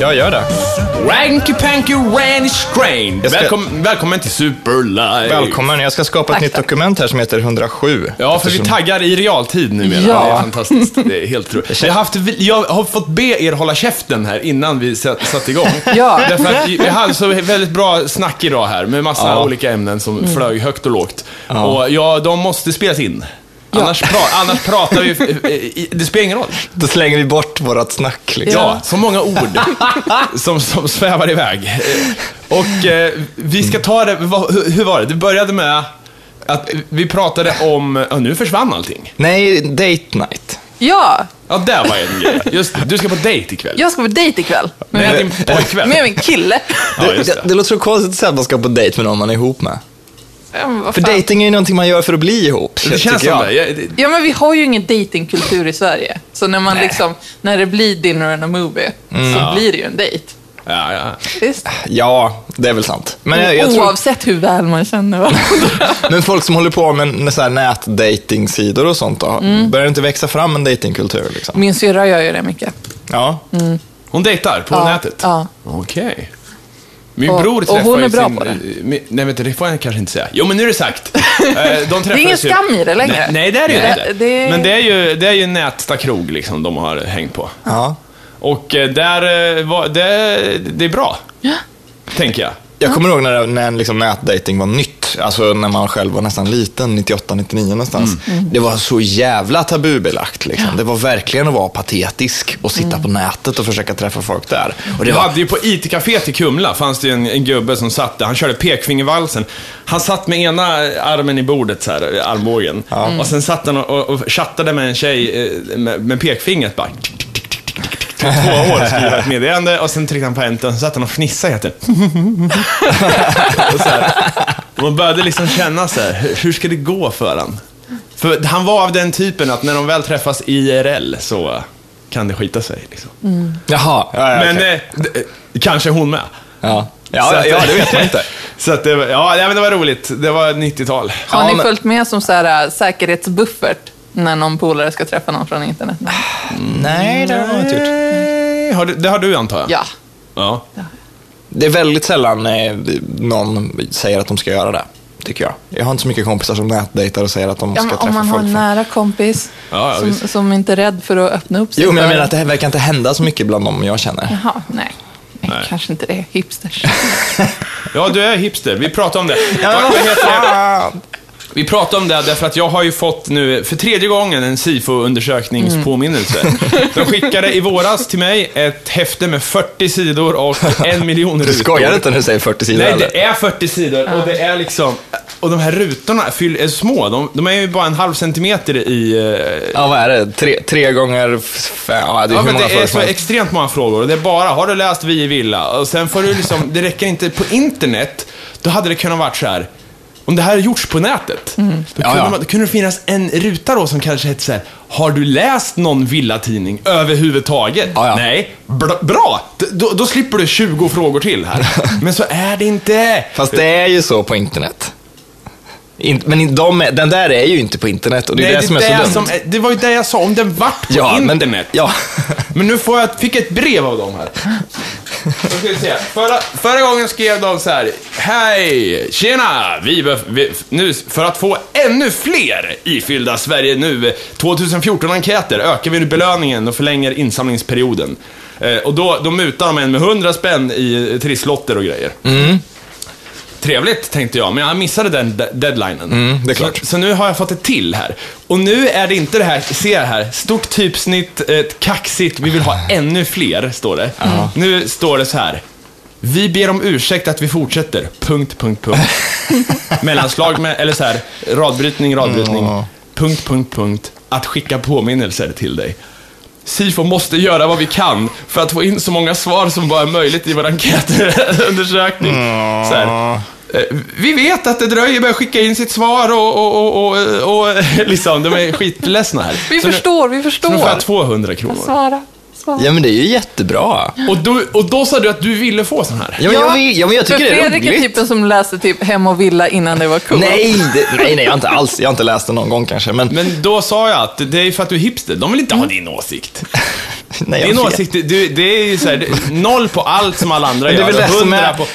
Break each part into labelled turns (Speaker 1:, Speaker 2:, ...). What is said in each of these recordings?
Speaker 1: Ja, gör det.
Speaker 2: Ranky panky ranny strain.
Speaker 1: ska-
Speaker 2: Välkom, välkommen till Superlive.
Speaker 1: Välkommen, jag ska skapa ett
Speaker 3: Tack,
Speaker 1: nytt
Speaker 3: tack.
Speaker 1: dokument här som heter 107.
Speaker 2: Ja, för vi
Speaker 1: Eftersom-
Speaker 2: taggar i realtid numera.
Speaker 3: Ja.
Speaker 2: Det är fantastiskt. Det är helt roligt. Jag, har haft, jag har fått be er hålla käften här innan vi satt, satt igång.
Speaker 3: Ja.
Speaker 2: Därför att vi hade så väldigt bra snack idag här med massa
Speaker 1: Ja.
Speaker 2: olika ämnen som flög högt och lågt. Och ja, de måste spelas in. Annars, pra, annars pratar vi... eh, i- Det spelar ingen roll.
Speaker 1: Då slänger vi bort vårat snack liksom.
Speaker 2: Ja, så många ord som, som svävar iväg. Eh, Och eh, vi ska ta det, vad- hur, hur var det? Det började med att vi pratade om, ja nu försvann allting.
Speaker 1: Nej, date night.
Speaker 3: Ja,
Speaker 2: Ja, där var en grej. Just det, du ska på dejt ikväll.
Speaker 3: jag ska på dejt ikväll.
Speaker 2: Med
Speaker 3: Med,
Speaker 2: din pojkvän.
Speaker 3: min, med min kille.
Speaker 2: Ja, just
Speaker 1: det,
Speaker 2: det.
Speaker 1: det låter så konstigt att säga att man ska på dejt med någon man är ihop med.
Speaker 3: Ja, men vad
Speaker 1: För
Speaker 3: fan.
Speaker 1: dejting är ju någonting man gör för att bli ihop.
Speaker 2: Det känns
Speaker 1: tycker
Speaker 2: som
Speaker 1: jag.
Speaker 2: det. Jag- det-
Speaker 3: Ja, men vi har ju ingen datingkultur i Sverige. Så när man liksom, när det blir dinner and a movie,
Speaker 1: Mm.
Speaker 3: så blir det ju en dejt.
Speaker 2: Ja, ja.
Speaker 3: Visst?
Speaker 1: Ja, det är väl sant. Men, jag, jag tror,
Speaker 3: Oavsett hur väl man känner varandra.
Speaker 1: men folk som håller på med, med så här nätdatingsidor och sånt då,
Speaker 2: Mm.
Speaker 1: börjar det inte växa fram en datingkultur liksom?
Speaker 3: Min syrra gör ju det mycket.
Speaker 1: Ja.
Speaker 2: Hon dejtar på
Speaker 3: Ja,
Speaker 2: nätet?
Speaker 3: ja.
Speaker 2: Okej. Min
Speaker 3: Och-
Speaker 2: bror
Speaker 3: och
Speaker 2: träffar
Speaker 3: hon är
Speaker 2: ju
Speaker 3: bra
Speaker 2: sin,
Speaker 3: på det.
Speaker 2: min- Nej, vänta, det får jag kanske inte säga. Jo, men nu är det sagt. Eh, De
Speaker 3: Det är ingen skam i det längre.
Speaker 2: Nej, nej det är det ju
Speaker 3: Nej,
Speaker 2: inte.
Speaker 3: det-
Speaker 2: Men det är ju, det är ju Nätsta krog liksom de har hängt på.
Speaker 1: ja.
Speaker 2: Och eh, där eh, var, det, det är bra. Tänker jag.
Speaker 1: Jag kommer ihåg när, när liksom nätdating var nytt, alltså när man själv var nästan liten, 98, 99 någonstans. Det var så jävla tabubelagt. Liksom. Det var verkligen att vara patetisk och sitta på nätet och försöka träffa folk där. Och det
Speaker 2: Du
Speaker 1: var,
Speaker 2: hade ju på IT-caféet i Kumla, fanns det ju en, en gubbe som satt där. Han körde pekfingervalsen. Han satt med ena armen i bordet, så här, i armbågen.
Speaker 1: Mm.
Speaker 2: Och sen satt han och, och, och chattade med en tjej eh, med, med pekfingret bara. Tick, tick, tick, tick, tick, tick, tick. Två år skrev han ett meddelande och sen tryckte han på enter och så satt han och fnissade hela tiden. Och så här. Och Man började liksom känna så här, hur- hur ska det gå för han? För han var av den typen att när de väl träffas IRL så kan det skita sig. Liksom.
Speaker 1: jaha, ja, ja,
Speaker 2: Men
Speaker 1: okej.
Speaker 2: eh, d- eh, kanske hon med.
Speaker 1: ja.
Speaker 2: Så
Speaker 1: Ja,
Speaker 2: att-
Speaker 1: ja, det vet man inte.
Speaker 2: Så att det, var- ja, nej, men det var roligt. Det var 90-tal.
Speaker 3: Har
Speaker 1: Ja,
Speaker 3: ni
Speaker 1: men-
Speaker 3: följt med som så här, äh, säkerhetsbuffert när någon polare ska träffa någon från internet?
Speaker 1: Ah, Nej, Mm, det har man inte gjort. Mm.
Speaker 2: Nej, typ. Har du, det har du antar jag?
Speaker 3: Ja.
Speaker 2: ja.
Speaker 1: Det är väldigt sällan eh, någon säger att de ska göra det, tycker jag. Jag har inte så mycket kompisar som nätdejtar och säger att de
Speaker 3: Ja,
Speaker 1: ska
Speaker 3: men
Speaker 1: träffa
Speaker 3: om man har
Speaker 1: folk.
Speaker 3: en
Speaker 1: från-
Speaker 3: nära kompis
Speaker 2: Ja, ja,
Speaker 3: som,
Speaker 2: visst.
Speaker 3: som inte är rädd för att öppna upp sig.
Speaker 1: Jo, men jag
Speaker 3: för-
Speaker 1: menar att det här verkar inte hända så mycket bland dem jag känner.
Speaker 3: Jaha, nej. nej. Kanske inte det. Hipsters.
Speaker 2: ja, du är hipster. Vi pratar om det.
Speaker 1: Ja,
Speaker 2: Vad heter det?
Speaker 1: fan.
Speaker 2: Vi pratar om det här därför att jag har ju fått nu för tredje gången en SIFO-undersökningspåminnelse.
Speaker 1: Mm.
Speaker 2: De skickade i våras till mig ett häfte med 40 sidor och en miljon rutor.
Speaker 1: Du skojar inte när du säger 40 sidor
Speaker 2: Nej,
Speaker 1: eller?
Speaker 2: det är 40 sidor och det är liksom... Och de här rutorna fyll- är små. De, de är ju bara en halv centimeter i... eh,
Speaker 1: Ja, vad är det? Tre, tre gånger fem? Ja, det är
Speaker 2: Ja,
Speaker 1: hur
Speaker 2: men
Speaker 1: många
Speaker 2: det är
Speaker 1: frågor
Speaker 2: så
Speaker 1: som helst.
Speaker 2: extremt många frågor. Och Det är bara, har du läst Vi i villa? Och sen får du liksom, det räcker inte på internet. Då hade det kunnat varit så här. Om det här hade gjorts på nätet, då,
Speaker 1: Mm. Ja,
Speaker 2: kunde
Speaker 1: ja.
Speaker 2: Man, då kunde det finnas en ruta då som kanske hette så här. Har du läst någon villatidning överhuvudtaget?
Speaker 1: Ja, ja.
Speaker 2: Nej. Bra! bra. D- Då, då slipper du 20 frågor till här. Men så är det inte.
Speaker 1: Fast det är ju så på internet. In, men in- de, är- den där är ju inte på internet och det är
Speaker 2: Nej,
Speaker 1: det, som är så
Speaker 2: där
Speaker 1: dumt.
Speaker 2: som är- det var ju det jag sa, om den vart på
Speaker 1: ja,
Speaker 2: internet.
Speaker 1: men, ja.
Speaker 2: Men nu får jag, fick jag ett brev av dem här. Då ska vi se. Förra, förra gången skrev de så här. Hej! Tjena! Vi, bef- vi, nu, för att få ännu fler ifyllda Sverige nu 2014-enkäter ökar vi nu belöningen och förlänger insamlingsperioden. Eh, och då, då mutar de en med 100 spänn i eh, trisslotter och grejer. Trevligt, tänkte jag, men jag missade den de- deadlinen.
Speaker 1: Mm, det är klart.
Speaker 2: Så, så nu har jag fått ett till här. Och nu är det inte det här, se här, stort typsnitt, ett kaxigt, vi vill ha ännu fler, står det. Nu står det så här. Vi ber om ursäkt att vi fortsätter, punkt, punkt, punkt. Mellanslag med, eller så här, radbrytning, radbrytning, punkt, punkt, punkt. Att skicka påminnelser till dig. Sifo måste göra vad vi kan för att få in så många svar som bara är möjligt i vår enkätundersökning. Så här. eh, Vi vet att det dröjer med att skicka in sitt svar och, och, och, och, och, liksom, de är skitledsna här.
Speaker 3: Vi
Speaker 2: Så nu-
Speaker 3: förstår, Alltså. vi
Speaker 2: så Nu får jag
Speaker 3: förstår.
Speaker 2: 200 kronor.
Speaker 3: Svara. Svara.
Speaker 1: ja, men det är ju jättebra.
Speaker 2: Och, då- och då sa du att du ville få sån här.
Speaker 1: Ja, men jag, vill- ja, men jag tycker
Speaker 3: för
Speaker 1: det är
Speaker 3: Fredrik är
Speaker 1: roligt.
Speaker 3: typen som läste typ Hem och Villa innan det var coolt.
Speaker 1: Nej, det, nej, nej, jag har inte alls, jag har inte läst det någon gång kanske. Men,
Speaker 3: Mm.
Speaker 2: Men då sa jag att det är för att du är hipster. De vill inte ha din åsikt.
Speaker 1: Nej, jag
Speaker 2: Din
Speaker 1: vet.
Speaker 2: åsikt, du, det är ju så här, det- noll på allt som alla andra
Speaker 1: Men det är
Speaker 2: gör.
Speaker 1: väl det som
Speaker 2: hundra
Speaker 1: är-
Speaker 2: på,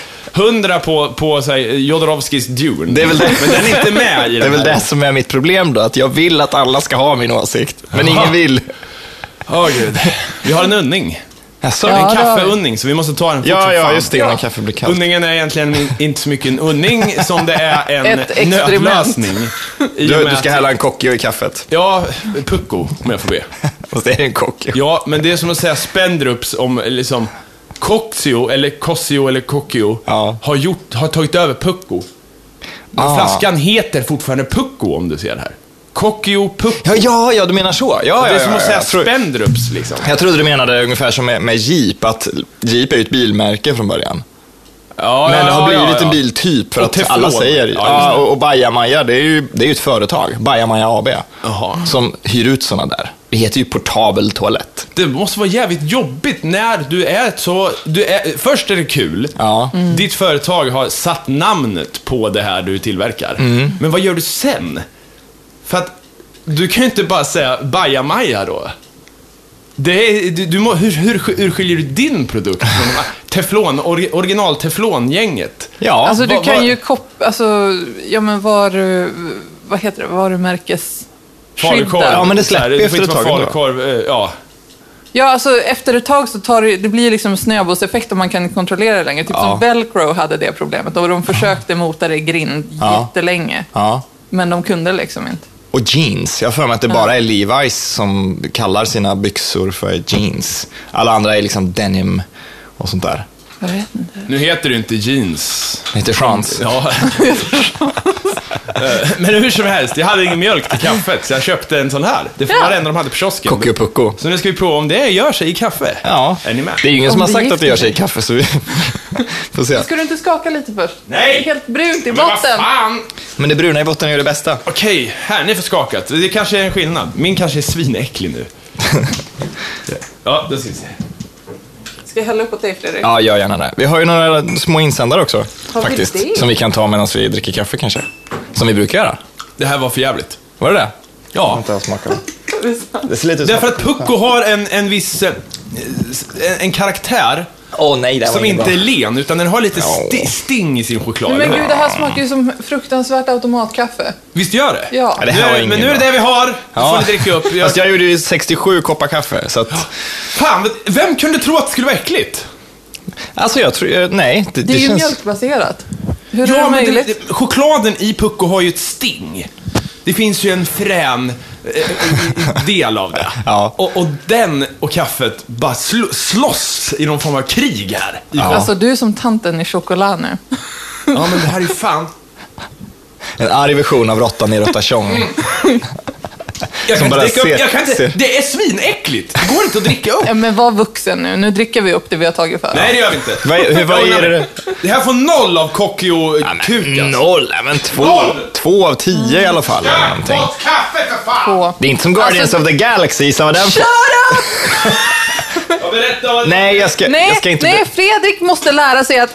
Speaker 2: hundra på, på så här, Jodorowskis Dune.
Speaker 1: Det är väl det.
Speaker 2: Men den är inte med i
Speaker 1: Det är
Speaker 2: den
Speaker 1: väl
Speaker 2: här.
Speaker 1: det som är mitt problem då, att jag vill att alla ska ha min åsikt, men
Speaker 2: Jaha.
Speaker 1: ingen vill.
Speaker 2: Åh gud. Vi har en unning.
Speaker 1: Jaså?
Speaker 3: Ja,
Speaker 2: en
Speaker 3: det har vi.
Speaker 2: kaffeunning, så vi måste ta den fort
Speaker 1: Ja,
Speaker 2: som
Speaker 1: ja,
Speaker 2: fan.
Speaker 1: just det, innan kaffe blir kallt.
Speaker 2: Unningen är egentligen min- inte så mycket en unning som det är en
Speaker 3: Ett experiment.
Speaker 2: nödlösning. I och
Speaker 1: Du,
Speaker 2: med
Speaker 1: du ska
Speaker 2: att-
Speaker 1: hälla en kockio i kaffet.
Speaker 2: Ja, pucko, om jag får be.
Speaker 1: Fast det är en kockio.
Speaker 2: Ja, men det är som att säga Spendrups om liksom Coxio eller Cossio eller Cockio
Speaker 1: Ja.
Speaker 2: har, gjort, har tagit över Pucko. Men
Speaker 1: Ah.
Speaker 2: flaskan heter fortfarande Pucko om du ser det här. Cockio, Pucko.
Speaker 1: Ja, ja, ja, du menar så. Ja, ja,
Speaker 2: det är
Speaker 1: ja,
Speaker 2: som
Speaker 1: ja,
Speaker 2: att säga
Speaker 1: jag tror-
Speaker 2: Spendrups liksom.
Speaker 1: Jag trodde du menade ungefär som med, med Jeep, att Jeep är ju ett bilmärke från början.
Speaker 2: Ja,
Speaker 1: Men
Speaker 2: ja,
Speaker 1: det har blivit
Speaker 2: ja, ja.
Speaker 1: en biltyp för
Speaker 2: Och
Speaker 1: att
Speaker 2: Teflon.
Speaker 1: alla säger
Speaker 2: Ja, just
Speaker 1: ja,
Speaker 2: det.
Speaker 1: Och, och Bajamaja, det är ju det är ju ett företag, Bajamaja AB,
Speaker 2: Jaha.
Speaker 1: som hyr ut sådana där. Det heter ju portabel toalett.
Speaker 2: Det måste vara jävligt jobbigt när du är så... Du är, först är det kul. Mm.
Speaker 1: Ja.
Speaker 2: Ditt företag har satt namnet på det här du tillverkar.
Speaker 1: Mm.
Speaker 2: Men vad gör du sen? För att du kan ju inte bara säga bajamaja då. Det är, du, du må, hur, hur, hur skiljer du din produkt från de här- teflon, or, original teflongänget?
Speaker 1: Ja,
Speaker 3: Alltså du
Speaker 2: vad-
Speaker 3: kan
Speaker 2: vad-
Speaker 3: ju koppla, alltså, ja men varu, vad heter det, varumärkes...
Speaker 2: Falukorv.
Speaker 3: skydda.
Speaker 1: Ja, men det
Speaker 2: Så här,
Speaker 1: släpper ju
Speaker 2: får
Speaker 1: efter
Speaker 2: inte
Speaker 1: ett
Speaker 2: vara
Speaker 1: tag ändå.
Speaker 2: Falukorv, eh, ja.
Speaker 3: Ja, alltså efter ett tag så tar det, det blir liksom snöbollseffekt om man kan kontrollera det längre. Typ som Velcro hade det problemet och de försökte mota det i grind
Speaker 1: Ja.
Speaker 3: jättelänge.
Speaker 1: ja.
Speaker 3: Men de kunde liksom inte.
Speaker 1: Och jeans. Jag har för mig att det bara är Levi's som kallar sina byxor för jeans. Alla andra är liksom denim och sånt där.
Speaker 3: Jag vet inte.
Speaker 2: Nu heter det inte jeans.
Speaker 1: Lite chans.
Speaker 2: Ja. Eh, Men hur som helst, jag hade ingen mjölk till kaffet, så jag köpte en sån här. Det var
Speaker 3: Ja.
Speaker 2: det enda de hade på kiosken.
Speaker 1: Kocko pucko.
Speaker 2: Så nu ska vi prova om det gör sig i kaffe.
Speaker 1: Ja,
Speaker 2: Är ni med?
Speaker 1: det är ju ingen som
Speaker 3: Om
Speaker 1: har
Speaker 3: det
Speaker 1: sagt
Speaker 3: gick
Speaker 1: att det gör sig i
Speaker 3: inte.
Speaker 1: kaffe, så vi får se.
Speaker 3: Ska du inte skaka lite först?
Speaker 2: Nej!
Speaker 3: Det är helt brunt i
Speaker 2: Men vad
Speaker 3: botten.
Speaker 2: fan!
Speaker 1: Men det bruna i botten är ju det bästa.
Speaker 2: Okej, här, ni får skakat. Det kanske är en skillnad. Min kanske är svinäcklig nu. Ja, då ska vi se.
Speaker 3: Ska jag hälla upp åt dig Fredrik?
Speaker 1: Ja, gör gärna det. Vi har ju några små insändare också,
Speaker 3: vi
Speaker 1: faktiskt.
Speaker 3: det?
Speaker 1: Som vi kan ta medan vi dricker kaffe kanske. Som vi brukar göra.
Speaker 2: Det här var för jävligt.
Speaker 1: Var det det?
Speaker 2: Ja,
Speaker 1: Jag smakar. Det ser lite ut
Speaker 2: därför att Pucko har en, en viss... eh, En, en karaktär
Speaker 1: Åh nej, det här
Speaker 2: som
Speaker 1: var inte
Speaker 2: inte är
Speaker 1: bra.
Speaker 2: len, utan den har lite
Speaker 1: Ja.
Speaker 2: sti, sting i sin choklad.
Speaker 3: Men gud, det här smakar ju som fruktansvärt automatkaffe.
Speaker 2: Visst gör det?
Speaker 3: Ja. Ja,
Speaker 1: det här
Speaker 2: Nu-
Speaker 1: var ingen
Speaker 2: men nu är det
Speaker 1: bra.
Speaker 2: det vi har. Nu får ni dricka upp. Jag...
Speaker 1: Fast jag gjorde ju 67 koppar kaffe, så att...
Speaker 2: Fan, vem kunde tro att det skulle vara äckligt?
Speaker 1: Alltså jag tror, eh, nej. Det,
Speaker 3: Det är
Speaker 1: det
Speaker 3: ju
Speaker 1: känns...
Speaker 3: mjölkbaserat. Hur är
Speaker 2: Ja,
Speaker 3: det
Speaker 2: men
Speaker 3: möjligt?
Speaker 2: det- chokladen i Pucko har ju ett sting. Det finns ju en frän eh, eh, del av det.
Speaker 1: Ja.
Speaker 2: Och, och den och kaffet bara sl- slåss i någon form av krig här. Ja.
Speaker 3: Alltså, du är som tanten i choklad nu.
Speaker 2: ja, men det här är ju fan...
Speaker 1: En arg version av råttan i Råtta Tjong.
Speaker 2: Jag
Speaker 1: Som
Speaker 2: kan, inte
Speaker 1: bara
Speaker 2: dricka upp,
Speaker 1: ser-
Speaker 2: jag kan inte...
Speaker 1: ser.
Speaker 2: Det är svinäckligt. Det går inte att dricka upp.
Speaker 3: Ja, men var vuxen nu. Nu dricker vi upp det vi har tagit för.
Speaker 2: Nej, det gör vi inte.
Speaker 1: Vad är- hur- vad är det du-
Speaker 2: Det här får noll av Kokkio-kuk alltså.
Speaker 1: Noll, nej, men två,
Speaker 2: Noll!
Speaker 1: två av tio i alla fall. Eller någonting.
Speaker 2: Gott kaffe för fan!
Speaker 3: På.
Speaker 1: Det är inte som Guardians
Speaker 3: Alltså-
Speaker 1: of the Galaxy, gissa vad den...
Speaker 2: Ja, berätta vad-
Speaker 1: Nej, jag ska,
Speaker 3: Nej,
Speaker 1: jag ska inte...
Speaker 3: nej, Fredrik måste lära sig att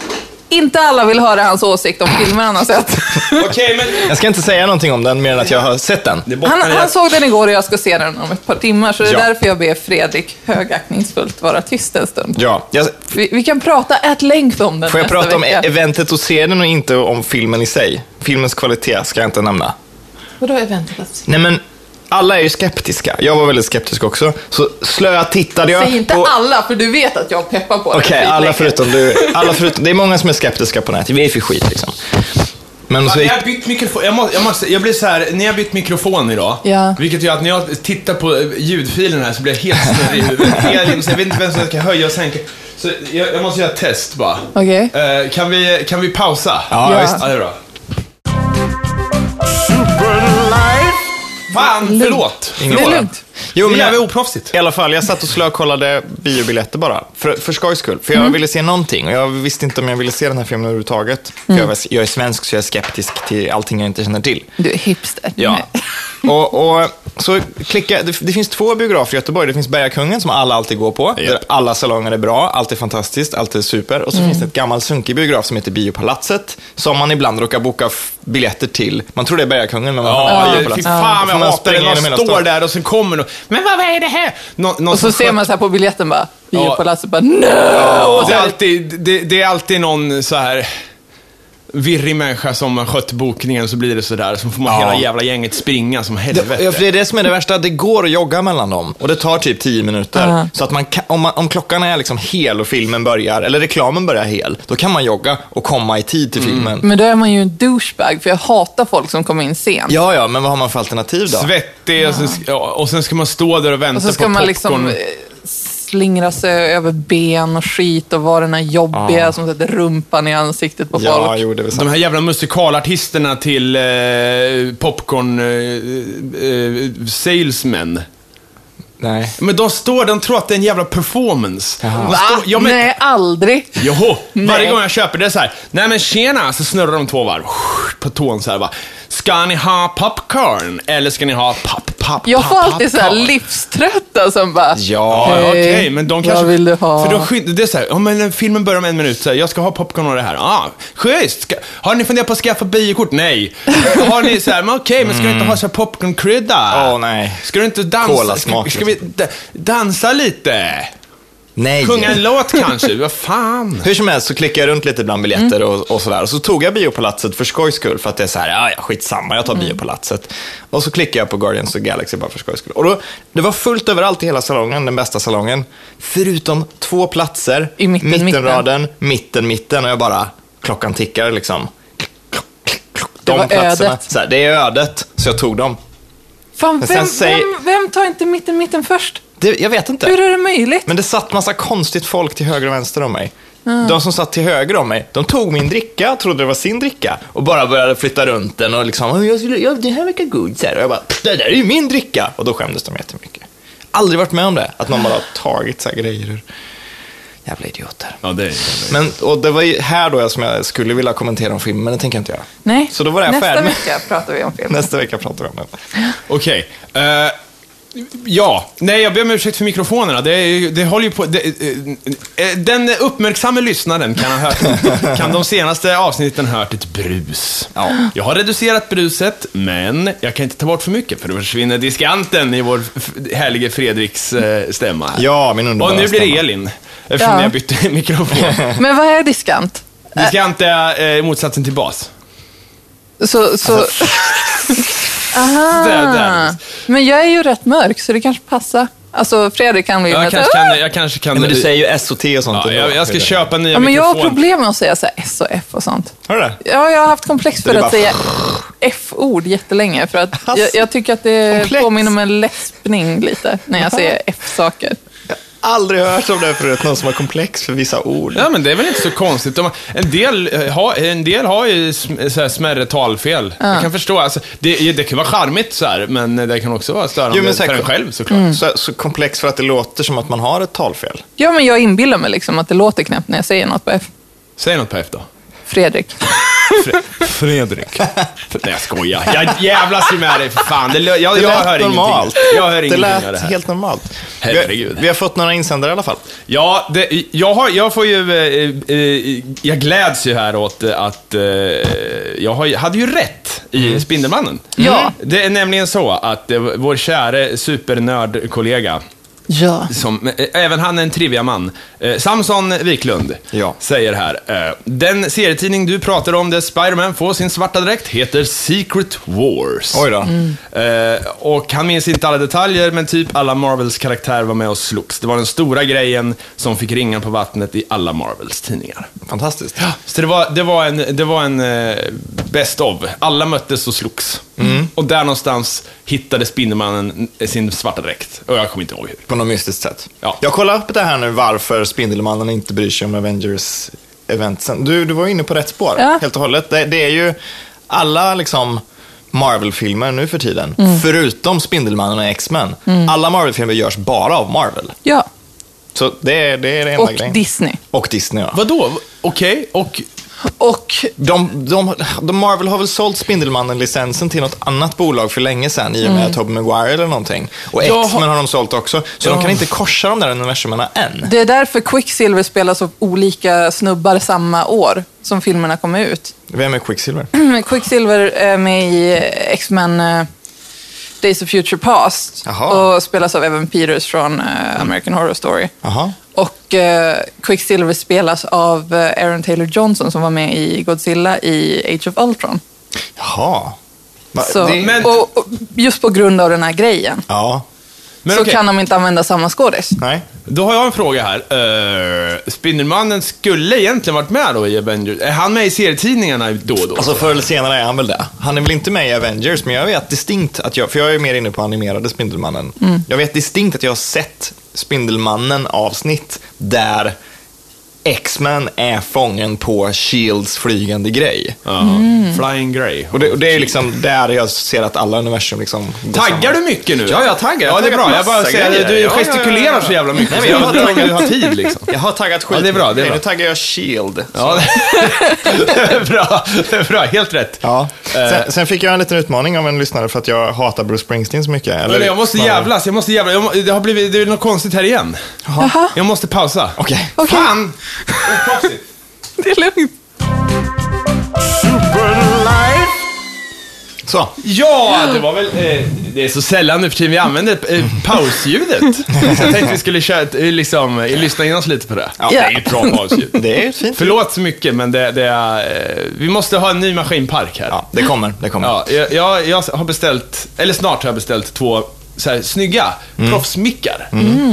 Speaker 3: inte alla vill höra hans åsikt om filmer han har sett.
Speaker 2: Okej, men...
Speaker 1: Jag ska inte säga någonting om den mer än att jag har sett den.
Speaker 2: Det
Speaker 3: Han,
Speaker 2: bottnar i
Speaker 3: han
Speaker 2: att...
Speaker 3: såg den igår och jag ska se den om ett par timmar, så det är
Speaker 1: Ja.
Speaker 3: därför jag ber Fredrik högaktningsfullt vara tyst en stund.
Speaker 1: Ja, jag,
Speaker 3: Vi, vi kan prata at length om den
Speaker 1: får jag
Speaker 3: nästa
Speaker 1: prata om
Speaker 3: vecka.
Speaker 1: eventet och serien och inte om filmen i sig? Filmens kvalitet ska jag inte nämna.
Speaker 3: Vadå eventet? att se?
Speaker 1: Nej men, alla är ju skeptiska. Jag var väldigt skeptisk också. Så slöa tittade jag
Speaker 3: Säg inte
Speaker 1: på...
Speaker 3: alla, för du vet att jag peppar på
Speaker 1: Okej,
Speaker 3: den
Speaker 1: alla
Speaker 3: skitlänge.
Speaker 1: förutom du. Alla förutom, det är många som är skeptiska på nätet. Vi är för skit liksom. Men så
Speaker 2: Ni
Speaker 1: gick...
Speaker 2: har bytt mikrofon. Jag, måste, jag, måste, jag blir så här, ni har bytt mikrofon idag.
Speaker 3: Ja.
Speaker 2: Vilket gör att när jag tittar på eh, ljudfilen här så blir jag helt snurrig i huvudet. Hela tiden, så Jag vet inte vem som ska höja och sänka. Så jag, jag måste göra ett test bara.
Speaker 3: Okej.
Speaker 2: Eh, kan, vi, kan vi pausa?
Speaker 1: Ja,
Speaker 3: Ja.
Speaker 1: visst.
Speaker 2: Ja, det är bra. Fan, förlåt.
Speaker 1: Ingen
Speaker 3: Det är
Speaker 1: fara.
Speaker 3: lugnt.
Speaker 1: Jo,
Speaker 2: Det
Speaker 1: men
Speaker 2: är
Speaker 1: jag,
Speaker 2: jävligt oproffsigt.
Speaker 1: I alla fall, jag satt och slökollade biobiljetter bara. För, för skojs skull. För jag
Speaker 2: Mm.
Speaker 1: ville se någonting. Och jag visste inte om jag ville se den här filmen
Speaker 2: Mm.
Speaker 1: överhuvudtaget. För jag, var, jag är svensk så jag är skeptisk till allting jag inte känner till.
Speaker 3: Du är hipster.
Speaker 1: Ja.
Speaker 3: Nej.
Speaker 1: Och, och så klicka, det, det finns två biografer i Göteborg. Det finns Bergakungen som alla alltid går på, där alla salonger är bra, allt är fantastiskt, allt är super.
Speaker 2: Mm.
Speaker 1: Och så finns det ett gammalt sunkig biograf som heter Biopalatset, som man ibland råkar boka f- biljetter till. Man tror det är Bergakungen, men man hamnar
Speaker 2: Ja,
Speaker 1: på
Speaker 2: fy
Speaker 1: Biopalatset.
Speaker 2: fan
Speaker 1: Då får
Speaker 2: jag
Speaker 1: man
Speaker 2: hatar
Speaker 1: springa
Speaker 2: det.
Speaker 1: genom
Speaker 2: Man
Speaker 1: hela
Speaker 2: står
Speaker 1: stan.
Speaker 2: där och sen kommer någon. Men vad, vad är det här? Nå, någon
Speaker 3: Och
Speaker 2: som
Speaker 3: så ser man så här på biljetten bara,
Speaker 2: Ja.
Speaker 3: biopalatset bara no!
Speaker 2: Ja, det, är alltid, det, det är alltid någon så här virrig människa som har skött bokningen så blir det sådär. Så får man
Speaker 1: Ja.
Speaker 2: hela jävla gänget springa som helvete.
Speaker 1: Det, ja, för det är det som är det värsta, det går att jogga mellan dem och det tar typ 10 minuter.
Speaker 3: Ja.
Speaker 1: Så att man kan, om, man, om klockan är liksom hel och filmen börjar, eller reklamen börjar hel, då kan man jogga och komma i tid
Speaker 2: Mm.
Speaker 1: till filmen.
Speaker 3: Men då är man ju en douchebag, för jag hatar folk som kommer in sent.
Speaker 1: Ja, ja, men vad har man för alternativ då?
Speaker 2: Svettig och sen, ska- ja, och sen ska man stå där och vänta
Speaker 3: Och så ska
Speaker 2: på
Speaker 3: man
Speaker 2: popcorn.
Speaker 3: liksom eh, slingra sig över ben och skit och vara den här jobbiga som sätter rumpan i ansiktet på
Speaker 1: ja,
Speaker 3: folk.
Speaker 1: jo, det är väl sant.
Speaker 2: De här jävla musikalartisterna till eh, popcorn eh, eh, salesmen.
Speaker 1: Nej.
Speaker 2: Men de står, de tror att det är en jävla performance.
Speaker 1: Jaha.
Speaker 2: De står, ja, men,
Speaker 3: Nej, aldrig.
Speaker 2: Joho! Varje
Speaker 3: Nej.
Speaker 2: gång jag köper det är så här. nej men tjena, så snurrar de två varv på tån så här bara. Ska ni ha popcorn? Eller ska ni ha pop, pop,
Speaker 3: Jag
Speaker 2: pop,
Speaker 3: får alltid så här
Speaker 2: popcorn?"
Speaker 3: livströtta som bara...
Speaker 1: Ja,
Speaker 2: Ja,
Speaker 3: "Hej,
Speaker 2: okej, men de kanske...
Speaker 3: Vad vill du ha?
Speaker 2: För då skynd, det är så här, ja men filmen börjar om en minut, så här, jag ska ha popcorn och det här. Ah, schysst! Ska, har ni funderat på att skaffa biokort? Nej. Har ni så här, men okej, men ska du
Speaker 3: Mm.
Speaker 2: inte ha så här popcornkrydda?
Speaker 1: Åh, nej.
Speaker 2: Ska du inte dansa? Ska,
Speaker 1: Kolasmak,
Speaker 2: ska vi da- dansa lite?
Speaker 1: Nej.
Speaker 2: Sjunga en låt kanske? Vad fan?
Speaker 1: Hur som helst så klickade jag runt lite bland biljetter
Speaker 3: Mm.
Speaker 1: och, och sådär. Och så tog jag biopalatset för skojs skull, för att det är så här, ja, ja skitsamma, jag tar
Speaker 3: Mm.
Speaker 1: biopalatset. Och så klickade jag på Guardians of the Galaxy bara för skojs skull. Och då, det var fullt överallt i hela salongen, den bästa salongen. Förutom två platser,
Speaker 3: I mitten, mitten.
Speaker 1: mittenraden, mitten, mitten. Och jag bara, klockan tickar liksom.
Speaker 3: Det var ödet.
Speaker 1: Så här, det är ödet, så jag tog dem.
Speaker 3: Fan,
Speaker 1: Men sen
Speaker 3: vem,
Speaker 1: säger-
Speaker 3: vem, vem tar inte mitten, mitten först?
Speaker 1: Det, jag vet inte.
Speaker 3: Hur är det möjligt?
Speaker 1: Men det satt massa konstigt folk till höger och vänster om mig. De som satt till höger om mig, de tog min dricka, trodde det var sin dricka och bara började flytta runt den och liksom, "Åh, jag skulle, ja, det här verkar god, så här. Och jag bara, "Pff, det där är ju min dricka! Och då skämdes de jättemycket. Aldrig varit med om det, att någon bara har tagit så här grejer ur. Jävla idioter.
Speaker 2: Ja, det är
Speaker 1: Men, och det var ju här då jag, som jag skulle vilja kommentera om filmen, men det tänker jag inte göra.
Speaker 3: Nej,
Speaker 1: Så då var det här
Speaker 3: nästa
Speaker 1: färdig.
Speaker 3: vecka pratar vi om film.
Speaker 1: Nästa vecka pratar vi om den.
Speaker 2: Okej. eh, ja, nej jag ber om ursäkt för mikrofonerna. Det, är ju- det håller ju på... Det, eh, eh, den uppmärksamme lyssnaren kan ha hört... kan de senaste avsnitten ha hört ett brus.
Speaker 1: Ja.
Speaker 2: Jag har reducerat bruset, men jag kan inte ta bort för mycket för då försvinner diskanten i vår f- härlige Fredriks eh, stämma. här.
Speaker 1: Ja, min underbara
Speaker 2: Och nu blir det
Speaker 1: stämma.
Speaker 2: Elin, eftersom
Speaker 3: Ja.
Speaker 2: jag bytte mikrofon.
Speaker 3: Men vad är diskant?
Speaker 2: Diskant är eh, motsatsen till bas.
Speaker 3: Så,
Speaker 1: Alltså,
Speaker 3: så, Ah.
Speaker 2: Där,
Speaker 1: Ah.
Speaker 2: där.
Speaker 3: men jag är ju rätt mörk, så det kanske passar. Alltså, Fredrik kan bli...
Speaker 2: Jag
Speaker 3: lite-
Speaker 2: kanske kan... Jag, kanske kan
Speaker 1: Ja, men du säger ju S och T och sånt.
Speaker 2: ja,
Speaker 1: ändå.
Speaker 2: jag, jag ska köpa nya
Speaker 3: Ja, men jag har
Speaker 2: mikrofoner.
Speaker 3: problem med att säga så här S och F och sånt.
Speaker 1: Hör du det?
Speaker 3: Ja, jag har haft komplex för
Speaker 1: Det är bara-
Speaker 3: att säga F-ord jättelänge. För att
Speaker 1: Asså,
Speaker 3: jag, jag tycker att det
Speaker 1: komplex.
Speaker 3: påminner om en läspning lite, när jag säger F-saker.
Speaker 1: Aldrig hört om det förut, någon som har komplex för vissa ord.
Speaker 2: Ja, men det är väl inte så konstigt. De, en, del, eh, har, en del har ju sm- så här smärre talfel. Jag kan förstå. Alltså, det, det kan vara charmigt så här, men det kan också vara störande
Speaker 1: Jo, men
Speaker 2: för
Speaker 1: säkert.
Speaker 2: en själv såklart.
Speaker 1: Så, så komplex för att det låter som att man har ett talfel.
Speaker 3: Ja, men jag inbillar mig liksom att det låter knäppt när jag säger något på F.
Speaker 2: Säg något på F då.
Speaker 3: Fredrik.
Speaker 2: Fre- Fredrik. Nej, jag skojar. Jag jävlas ju med dig för fan. Det, lö- jag,
Speaker 1: Det
Speaker 2: jag
Speaker 1: lät
Speaker 2: hör
Speaker 1: normalt.
Speaker 2: ingenting. Jag hör
Speaker 1: det
Speaker 2: ingenting av
Speaker 1: lät
Speaker 2: det här.
Speaker 1: helt normalt.
Speaker 2: Herregud.
Speaker 1: Vi, vi har fått några insändare i alla fall.
Speaker 2: Ja, det, jag, har, jag får ju... eh, eh, Jag gläds ju här åt eh, att eh, jag har, ju- hade ju rätt i
Speaker 1: Mm.
Speaker 2: Spindelmannen. Mm.
Speaker 3: Ja.
Speaker 2: Det är nämligen så att eh, vår käre supernördkollega,
Speaker 3: Ja.
Speaker 2: som, eh, även han är en triviaman, eh, Samson Wiklund,
Speaker 1: Ja.
Speaker 2: säger här. Eh, den serietidning du pratar om där Spiderman får sin svarta dräkt heter Secret Wars.
Speaker 1: Oj då.
Speaker 2: Eh, och han minns inte alla detaljer, men typ alla Marvels karaktärer var med och slogs. Det var den stora grejen som fick ringan på vattnet i alla Marvels tidningar.
Speaker 1: Fantastiskt.
Speaker 2: Så det var, det var en, det var en eh, best of. Alla möttes och slogs. Och där någonstans hittade Spindelmannen sin svarta dräkt. Och jag kommer inte ihåg hur.
Speaker 1: På något mystiskt sätt.
Speaker 2: Ja.
Speaker 1: Jag kollar upp det här nu varför Spindelmannen inte bryr sig om Avengers eventsen. Du, du var inne på rätt spår
Speaker 3: Ja.
Speaker 1: helt och hållet. Det, det är ju alla liksom Marvel-filmer nu för tiden, förutom Spindelmannen och X-Men. Alla Marvel-filmer görs bara av Marvel.
Speaker 3: ja.
Speaker 1: Så det är det, är det enda
Speaker 3: Och
Speaker 1: grejen.
Speaker 3: Disney.
Speaker 1: och Disney, ja.
Speaker 2: Vadå? Okej, och...
Speaker 3: Och
Speaker 1: Och de, de, de Marvel har väl sålt Spindelmannen-licensen till något annat bolag för länge sedan i och med Tobey Maguire eller någonting. Och
Speaker 2: Jag har-
Speaker 1: X-Men har de sålt också. Så de kan inte korsa de där universumerna än.
Speaker 3: Det är därför Quicksilver spelas av olika snubbar samma år som filmerna kom ut.
Speaker 1: Vem är Quicksilver?
Speaker 3: Quicksilver är med i X-Men eh, Days of Future Past
Speaker 1: Jaha.
Speaker 3: och spelas av Evan Peters från eh, American Horror Story.
Speaker 1: Jaha.
Speaker 3: Och eh, Quicksilver spelas av eh, Aaron Taylor Johnson som var med i Godzilla i Age of Ultron.
Speaker 1: Jaha. Va,
Speaker 3: Så,
Speaker 1: det,
Speaker 2: men-
Speaker 3: och, och just på grund av den här grejen
Speaker 1: Ja.
Speaker 2: Men
Speaker 3: så
Speaker 2: okej.
Speaker 3: kan de inte använda samma skådis.
Speaker 1: Nej.
Speaker 2: Då har jag en fråga här. Eh, Spindelmannen skulle egentligen varit med då i Avengers. Är han med i serietidningarna då och då?
Speaker 1: Alltså förr eller senare är han väl det. Han är väl inte med i Avengers, men jag vet distinkt att jag, för jag är mer inne på animerade Spindelmannen. Jag vet distinkt att jag har sett Spindelmannen-avsnitt där X-Men är fången på Shields flygande grej.
Speaker 2: Ja. Flying Grey.
Speaker 1: Och det, och det är liksom där jag ser att alla universum liksom... går
Speaker 2: Taggar
Speaker 1: samman.
Speaker 2: du mycket nu?
Speaker 1: Ja, jag taggar. Jag
Speaker 2: Ja, det är
Speaker 1: taggar
Speaker 2: bra. Jag bara
Speaker 1: massa
Speaker 2: säger
Speaker 1: grejer.
Speaker 2: du
Speaker 1: Ja, ja,
Speaker 2: gestikulerar
Speaker 1: ja, ja.
Speaker 2: så jävla mycket.
Speaker 1: Nej, men jag har
Speaker 2: undrar om
Speaker 1: taggat-
Speaker 2: du har tid liksom.
Speaker 1: Jag har taggat skit.
Speaker 2: Ja, det är bra, det är
Speaker 1: Okej,
Speaker 2: bra.
Speaker 1: Nu taggar jag Shield.
Speaker 2: Ja, bra. bra. Helt rätt.
Speaker 1: Ja.
Speaker 2: Eh.
Speaker 1: Sen, sen fick jag en liten utmaning av en lyssnare för att jag hatar Bruce Springsteen så mycket. Eller,
Speaker 2: Men jag måste
Speaker 1: snarare-
Speaker 2: jävlas, jag måste jävlas. Jag, må- det har blivit, det är något konstigt här igen.
Speaker 3: Jaha,
Speaker 2: Jag måste pausa.
Speaker 1: Okej.
Speaker 3: Okej.
Speaker 2: Fan! Oproffsigt.
Speaker 3: det är lugnt.
Speaker 1: Så.
Speaker 2: Ja, det var väl... Eh, det är så sällan nu för tiden vi använder eh, pausljudet. Så jag tänkte vi skulle köra ett, eh, liksom, eh, lyssna in oss lite på det.
Speaker 1: Ja.
Speaker 2: Det är ju ett bra pausljud.
Speaker 1: Det är fint.
Speaker 2: Förlåt så mycket, men det, det är, eh, vi måste ha en ny maskinpark här.
Speaker 1: Ja, det kommer. Det kommer.
Speaker 2: Ja, jag, jag, jag har beställt, eller snart har jag beställt två så här, snygga
Speaker 1: Mm.
Speaker 2: proffsmickar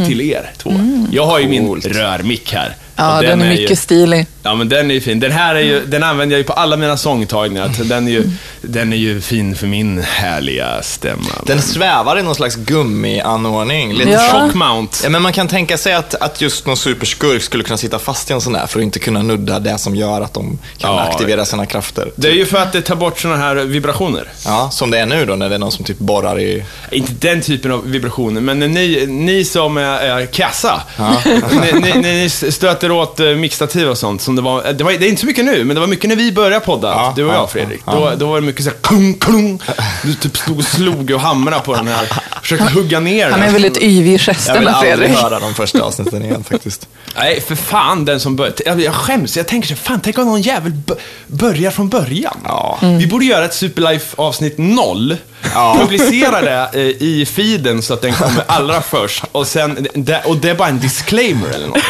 Speaker 2: till er två. Jag har ju min
Speaker 1: Coolt.
Speaker 2: rörmick här.
Speaker 3: Ja,
Speaker 2: Och
Speaker 3: den är mycket
Speaker 2: ju,
Speaker 3: stilig.
Speaker 2: Ja, men den är ju fin. Den här är ju, den använder jag ju på alla mina sångtagningar. så Den är ju, den är ju fin för min härliga stämma.
Speaker 1: Den svävar i någon slags gummianordning. Lite
Speaker 3: Ja.
Speaker 1: tjock.
Speaker 2: Shock mount.
Speaker 1: Ja, men man kan tänka sig att, att just någon superskurk skulle kunna sitta fast i en sån där för att inte kunna nudda det som gör att de kan
Speaker 2: Ja.
Speaker 1: aktivera sina krafter.
Speaker 2: Det är ju för att det tar bort såna här vibrationer.
Speaker 1: Ja, som det är nu då när det är någon som typ borrar i...
Speaker 2: Inte den typen av vibrationer, men när ni, ni som är, är kassa, ni, ni, ni stöter åt eh, mixtativ och sånt. Som det, var, eh, det, var, det är inte så mycket nu, men det var mycket när vi började podda,
Speaker 1: Ja,
Speaker 2: du och
Speaker 1: ja,
Speaker 2: jag Fredrik. Då, då var det mycket så här klung, klung. Du typ stod och slog och hamrade på den här, försökte hugga ner den.
Speaker 3: Han är väldigt yvig i
Speaker 1: Jag vill
Speaker 3: gesterna,
Speaker 1: aldrig
Speaker 3: Fredrik.
Speaker 1: höra de första avsnitten igen faktiskt.
Speaker 2: Nej, för fan den som börjar. Jag, jag skäms, jag tänker så här, fan tänk om någon jävel b- börjar från början. Mm.
Speaker 1: Ja.
Speaker 2: Vi borde göra ett Superlife avsnitt noll.
Speaker 1: Ja.
Speaker 2: Publicera det eh, i feeden så att den kommer allra först. Och, sen, det, och det är bara en disclaimer eller något.